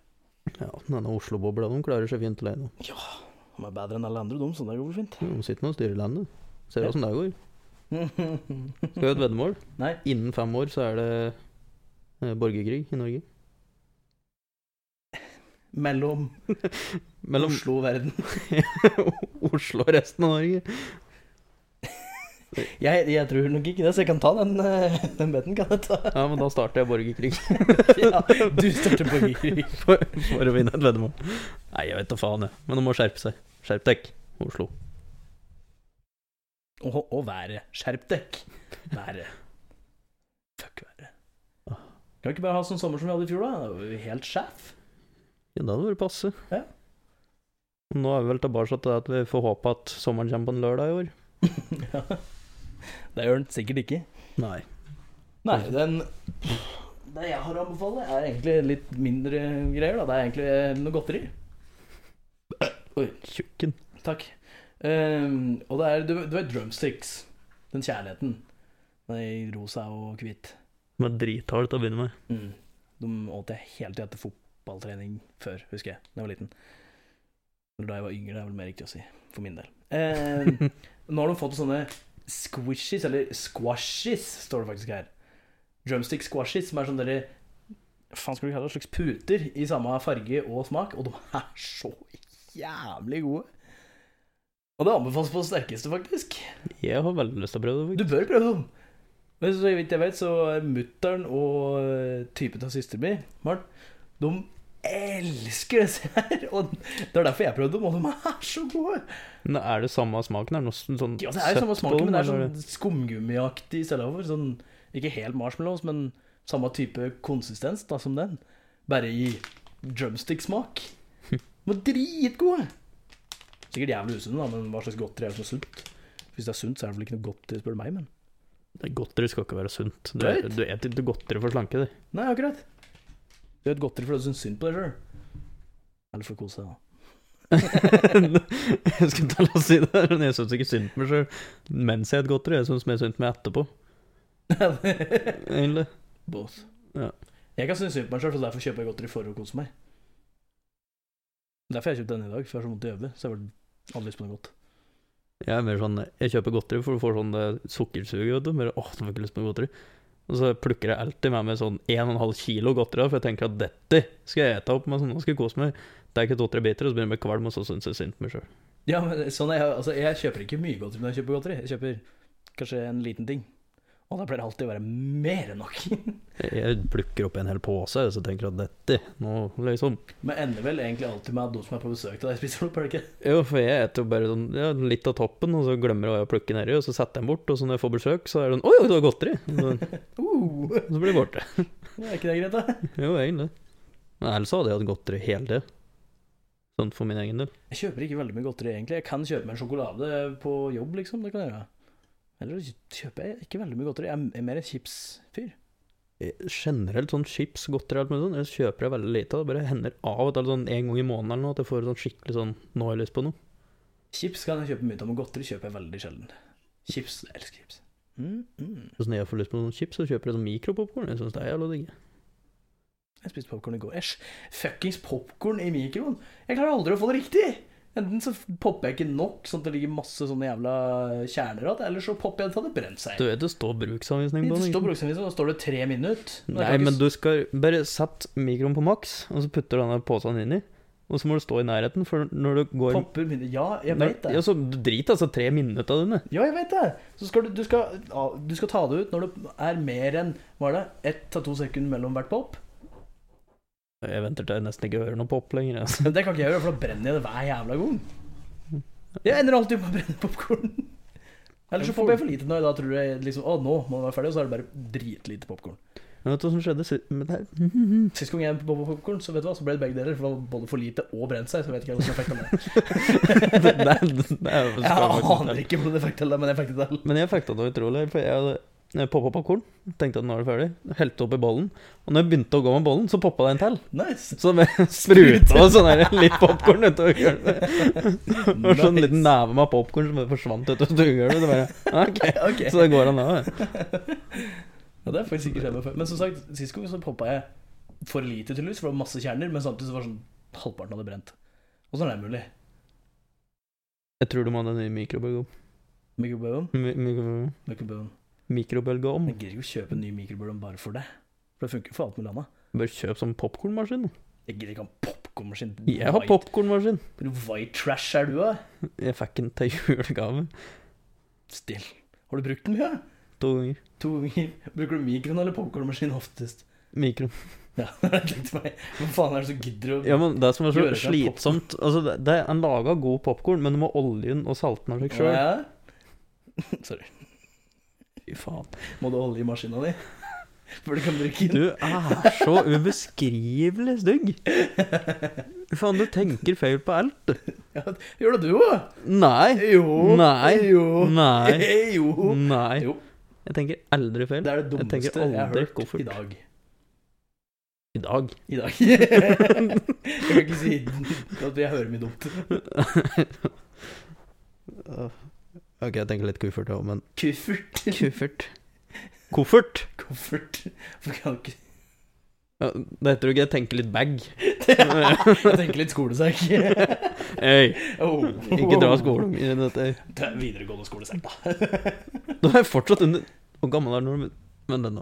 S1: Ja, denne Oslo-bobla, de klarer seg fint alene.
S2: De er bedre enn alle andre, de, så det går vel fint.
S1: De sitter nå og styrer landet. Ser åssen det går. Skal vi ha et veddemål?
S2: Nei.
S1: Innen fem år så er det eh, borgerkrig i Norge.
S2: Mellom,
S1: Mellom
S2: Oslo og verden.
S1: Oslo og resten av Norge.
S2: Jeg, jeg tror nok ikke det, så jeg kan ta den, eh, den beten. kan jeg ta.
S1: Ja, men da starter jeg borgerkrig
S2: Ja, du starter på Giri.
S1: for, for å vinne et veddemål. Nei, jeg vet da faen, jeg. Men du må skjerpe seg. Skjerp deg, Oslo.
S2: Og, og været. Skjerp dekk. Været. Fuck været. Kan vi ikke bare ha sånn sommer som vi hadde i fjor, da? Da var vi helt sjef.
S1: Ja, da hadde det vært passe.
S2: Ja.
S1: Nå er vi vel tilbake til det at vi får håpe at sommeren kommer på en lørdag i år.
S2: ja. Det gjør den sikkert ikke.
S1: Nei.
S2: Nei, den Det jeg har å anbefale, er egentlig litt mindre greier. da Det er egentlig eh, noe godteri.
S1: Tjukken.
S2: Takk. Ehm, og det er du, du vet drumsticks. Den kjærligheten. Den er i rosa og hvit.
S1: Med drithard til å begynne med.
S2: Mm. De åt jeg helt til etter fotballtrening før, husker jeg, da jeg var liten. Eller da jeg var yngre, det er vel mer riktig å si. For min del. Ehm, nå har de fått sånne squishies, eller squashies, står det faktisk her. Drumstick squashies, som er sånne derre hva Faen, skal du kalle det slags puter i samme farge og smak, og de er så jævlig gode. Og det anbefales på det sterkeste, faktisk.
S1: Jeg har veldig lyst til å prøve det.
S2: Du bør prøve dem. Men så vidt jeg vet, så er mutter'n og eh, typen til søsteren min, Maren, de elsker disse her. Og det er derfor jeg prøvde dem, og de er så gode.
S1: faktisk. Men er det samme smaken? Er det noe sånn sånn
S2: Ja, det er jo samme
S1: søtt på
S2: smaken, men det er
S1: dem, eller?
S2: sånn skumgummiaktig i stedet for. Sånn, ikke helt marshmallows, men samme type konsistens da, som den. Bare i drumstick-smak. De er dritgode! Sikkert jævlig usunne, da, men hva slags godteri er det som er sunt? Hvis det er sunt, så er det vel ikke noe godteri, spør du meg, men
S1: Det er Godteri skal ikke være sunt. Du,
S2: Right.
S1: du eter ikke godteri for å slanke deg.
S2: Nei, akkurat. Du vet godteri fordi du syns synd på deg sjøl. Eller for å kose deg, da.
S1: jeg skulle til å si det, men jeg syns ikke synd på meg sjøl mens jeg et godteri. Jeg syns mer synd på meg etterpå, egentlig.
S2: Both.
S1: Ja.
S2: Jeg kan synes synd på meg sjøl, så derfor kjøper jeg godteri for å kose meg. Derfor har jeg kjøpt den i dag, for jeg har så vondt i øyet. Så jeg har aldri lyst på noe godt.
S1: Jeg er mer sånn Jeg kjøper godteri for du får sånn det sukkersuget, vet du. Bare åh, nå fikk jeg lyst på godteri. Og så plukker jeg alltid med meg sånn 1,5 kilo godteri, for jeg tenker at dette skal jeg ete opp med, sånn, nå skal jeg kose meg. Det er ikke to-tre biter, og så begynner jeg å bli kvalm, og så syns jeg synd på meg sjøl.
S2: Ja, men sånn er jeg, altså, jeg kjøper ikke mye godteri når jeg kjøper godteri. Jeg kjøper kanskje en liten ting. Og da pleier det alltid å være mer enn nok.
S1: Jeg plukker opp en hel pose og så tenker jeg at dette, nå liksom
S2: Men ender vel egentlig alltid med at de som er på besøk til deg, spiser noe, pleier det ikke?
S1: Jo, for jeg eter jo bare sånn, ja, litt av toppen, og så glemmer jeg å plukke nedi, og så setter jeg den bort, og så når jeg får besøk, så er det sånn Oi, oi, det var godteri! Så,
S2: Uh,
S1: så blir det borte.
S2: er ikke det greit, da?
S1: Jo, egentlig. Men ellers hadde jeg hatt godteri hele tida. Sånn for min egen del.
S2: Jeg kjøper ikke veldig mye godteri, egentlig. Jeg kan kjøpe meg en sjokolade på jobb, liksom. Det kan jeg gjøre. Eller kjøper jeg ikke veldig mye godteri. Jeg er mer en chipsfyr.
S1: Eh, Generelt sånn chips, godteri og alt mulig sånn, ellers kjøper jeg veldig lite. av Det bare hender av og til sånn en gang i måneden eller noe at jeg får sånn skikkelig sånn Nå har jeg lyst på noe.
S2: Chips kan jeg kjøpe mye av, men godteri kjøper jeg veldig sjelden. Chips, jeg elsker chips. Mm, mm.
S1: Så Sånn, når jeg får lyst på noen chips, så kjøper jeg sånn mikropopkorn. Jeg syns det er jævla digg.
S2: Jeg spiste popkorn i går. Æsj. Fuckings popkorn i mikroen! Jeg klarer aldri å få det riktig! Enten så popper jeg ikke nok, sånn at det ligger masse sånne jævla kjerner igjen, eller så popper jeg det til det brent seg.
S1: Du vet det står bruksanvisning på
S2: Det
S1: den. ikke
S2: står bruksanvisning, da står det tre minutter. Men jeg
S1: Nei,
S2: kan ikke
S1: men du skal bare sett mikroen på maks, og så putter du denne posen inni. Og så må du stå i nærheten, for når du går
S2: Popper mine Ja, jeg
S1: Når-
S2: vet det.
S1: Ja, så du driter altså tre minutter dine.
S2: Ja, jeg vet det! Så skal du, du, skal, ja, du skal ta det ut når det er mer enn hva er det, ett til to sekunder mellom hvert pop.
S1: Jeg venter til jeg nesten ikke hører noe pop lenger. Altså.
S2: Men det kan ikke jeg gjøre, for da brenner jeg det hver jævla gang. Jeg ender alltid på å brenne popkorn. Eller så popper jeg for lite når jeg da tror jeg liksom, å, nå må det være ferdig, og så er det bare dritlite popkorn.
S1: Men vet du hva som skjedde si- med det
S2: Sist gang jeg poppa popkorn, så vet du hva, så ble det begge deler. For det var både for lite og brent seg, så jeg vet ikke hvordan jeg fikk
S1: her?
S2: til det.
S1: det, det, det, det er jo
S2: Jeg aner ikke hvordan jeg fikk til det, men jeg fikk det til.
S1: Men jeg fekta det utrolig, for jeg hadde poppa popkorn. Tenkte at nå er det ferdig. Helte oppi bollen. Og når jeg begynte å gå med bollen, så poppa det en til.
S2: Nice.
S1: Så det spruta sånn her litt popkorn utover gulvet. Det var sånn liten neve med popkorn som bare forsvant utover stuegulvet. Det bare, ok.
S2: Ok.
S1: Så det går an, det.
S2: Ja, det har faktisk ikke skjedd meg før. Men som sagt, sist gang så poppa jeg for lite, tydeligvis, for det var masse kjerner, men samtidig så var det sånn halvparten hadde brent. Åssen er det mulig?
S1: Jeg tror du må ha en ny mikrobølgeovn.
S2: Mikrobølgeovn?
S1: Mi- mikro-
S2: Mikrobølgeovn.
S1: Mikrobølgeovn.
S2: Jeg gidder ikke å kjøpe en ny mikrobølgeovn bare for det. For det funker for alt mulig annet.
S1: Bør kjøpe sånn popkornmaskin.
S2: Jeg gidder ikke ha en popkornmaskin.
S1: Jeg har
S2: White-
S1: popkornmaskin.
S2: White trash er du, da?
S1: Jeg fikk den til julegave
S2: Still. Har du brukt den mye?
S1: to ganger.
S2: To ganger. Bruker du mikroen eller popkornmaskin oftest?
S1: Mikro.
S2: Ja, det tenkte meg. Hva faen er det som gidder å
S1: Ja, men Det som er så
S2: Gjør det til en
S1: slitsomt altså det, det er En lager god popkorn, men du må oljen og salten av seg sjøl.
S2: Ja. Sorry.
S1: Fy faen.
S2: Må du holde i maskina di? Før du kan drikke den?
S1: Du er så ubeskrivelig stygg. Faen, du tenker feil på alt. du.
S2: Gjør det du òg?
S1: Nei.
S2: Jo.
S1: Nei.
S2: Jo.
S1: Nei.
S2: Eh, Jo.
S1: Nei.
S2: Jo.
S1: Jeg tenker aldri feil.
S2: Det er det
S1: Jeg
S2: dummeste
S1: tenker
S2: jeg, har
S1: aldri
S2: hørt
S1: koffert.
S2: i dag.
S1: I dag.
S2: I dag. jeg kan ikke si at jeg hører mye dumt.
S1: Ok, jeg tenker litt kuffert òg, men
S2: Kuffert.
S1: Kuffert. Koffert?
S2: Koffert. For jeg kan ikke
S1: Ja, det heter jo ikke 'jeg tenker litt bag'.
S2: Jeg tenker litt skolesekk.
S1: Hey,
S2: Oh.
S1: ikke dra skolen i dette.
S2: Det er videregående skolesekk, da.
S1: Du er fortsatt under Hvor gammel er du når du Men den, da.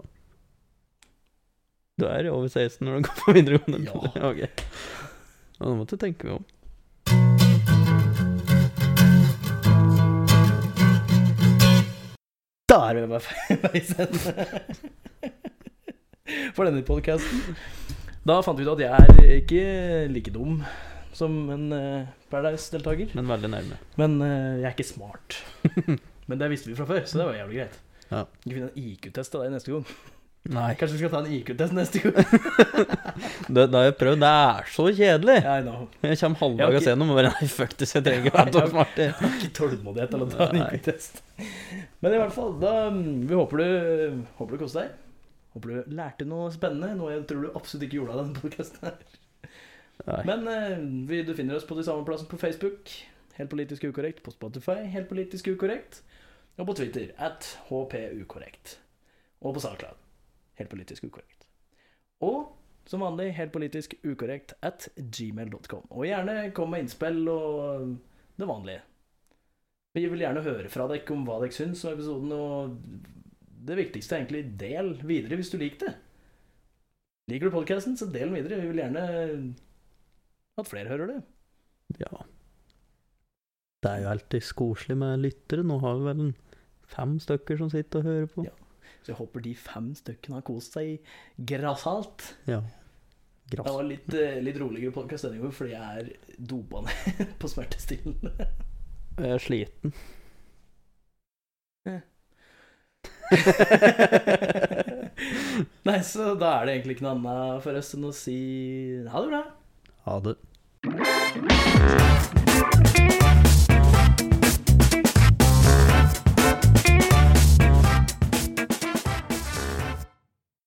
S1: Du er over 16 når du går på videregående?
S2: Ja.
S1: Ok. Ja, Nå måtte du tenke meg om.
S2: Da er vi ved fe- veis ende. For denne podkasten. Da fant vi ut at jeg er ikke like dum som en eh, Paradise-deltaker.
S1: Men veldig nærme.
S2: Men eh, jeg er ikke smart. Men det visste vi fra før, så det var jævlig greit.
S1: Ja.
S2: Vi finner en IQ-test til deg neste gang.
S1: Nei.
S2: Kanskje vi skal ta en IQ-test neste gang?
S1: Det, det har jeg prøvd. Det er så kjedelig!
S2: Ja, I know.
S1: Jeg kommer
S2: Ja,
S1: halvdags
S2: ok.
S1: gjennom og bare Nei, fuck this, jeg trenger ikke
S2: Nei,
S1: være så smart. jeg.
S2: Jeg har ikke tålmodighet til å ta en
S1: Nei.
S2: IQ-test. Men i hvert fall, da, mm, vi håper du, håper du koste deg. Håper du lærte noe spennende, noe jeg tror du absolutt ikke gjorde av denne podkasten.
S1: Nei.
S2: Men eh, vi, du finner oss på de samme plassene på Facebook, Helt politisk ukorrekt, på Spotify, Helt politisk ukorrekt, og på Twitter, at hpukorrekt. Og på SoundCloud, Helt politisk ukorrekt. Og som vanlig, helt politisk ukorrekt at gmail.com. Og gjerne kom med innspill og det vanlige. Vi vil gjerne høre fra dere om hva dere syns om episoden, og det viktigste er egentlig del videre hvis du liker det. Liker du podkasten, så del den videre. Vi vil gjerne at flere hører det.
S1: Ja. Det er jo alltid koselig med lyttere. Nå har vi vel en fem stykker som sitter og hører på.
S2: Ja. Så jeg håper de fem stykkene har kost seg grassat.
S1: Ja.
S2: Det
S1: Grass.
S2: var litt, eh, litt roligere podkast denne gangen, fordi jeg er dopa ned på smertestillende.
S1: Jeg er sliten.
S2: Nei, så da er det egentlig ikke noe annet for oss enn å si ha det bra.
S1: Ha det.
S2: Thank you.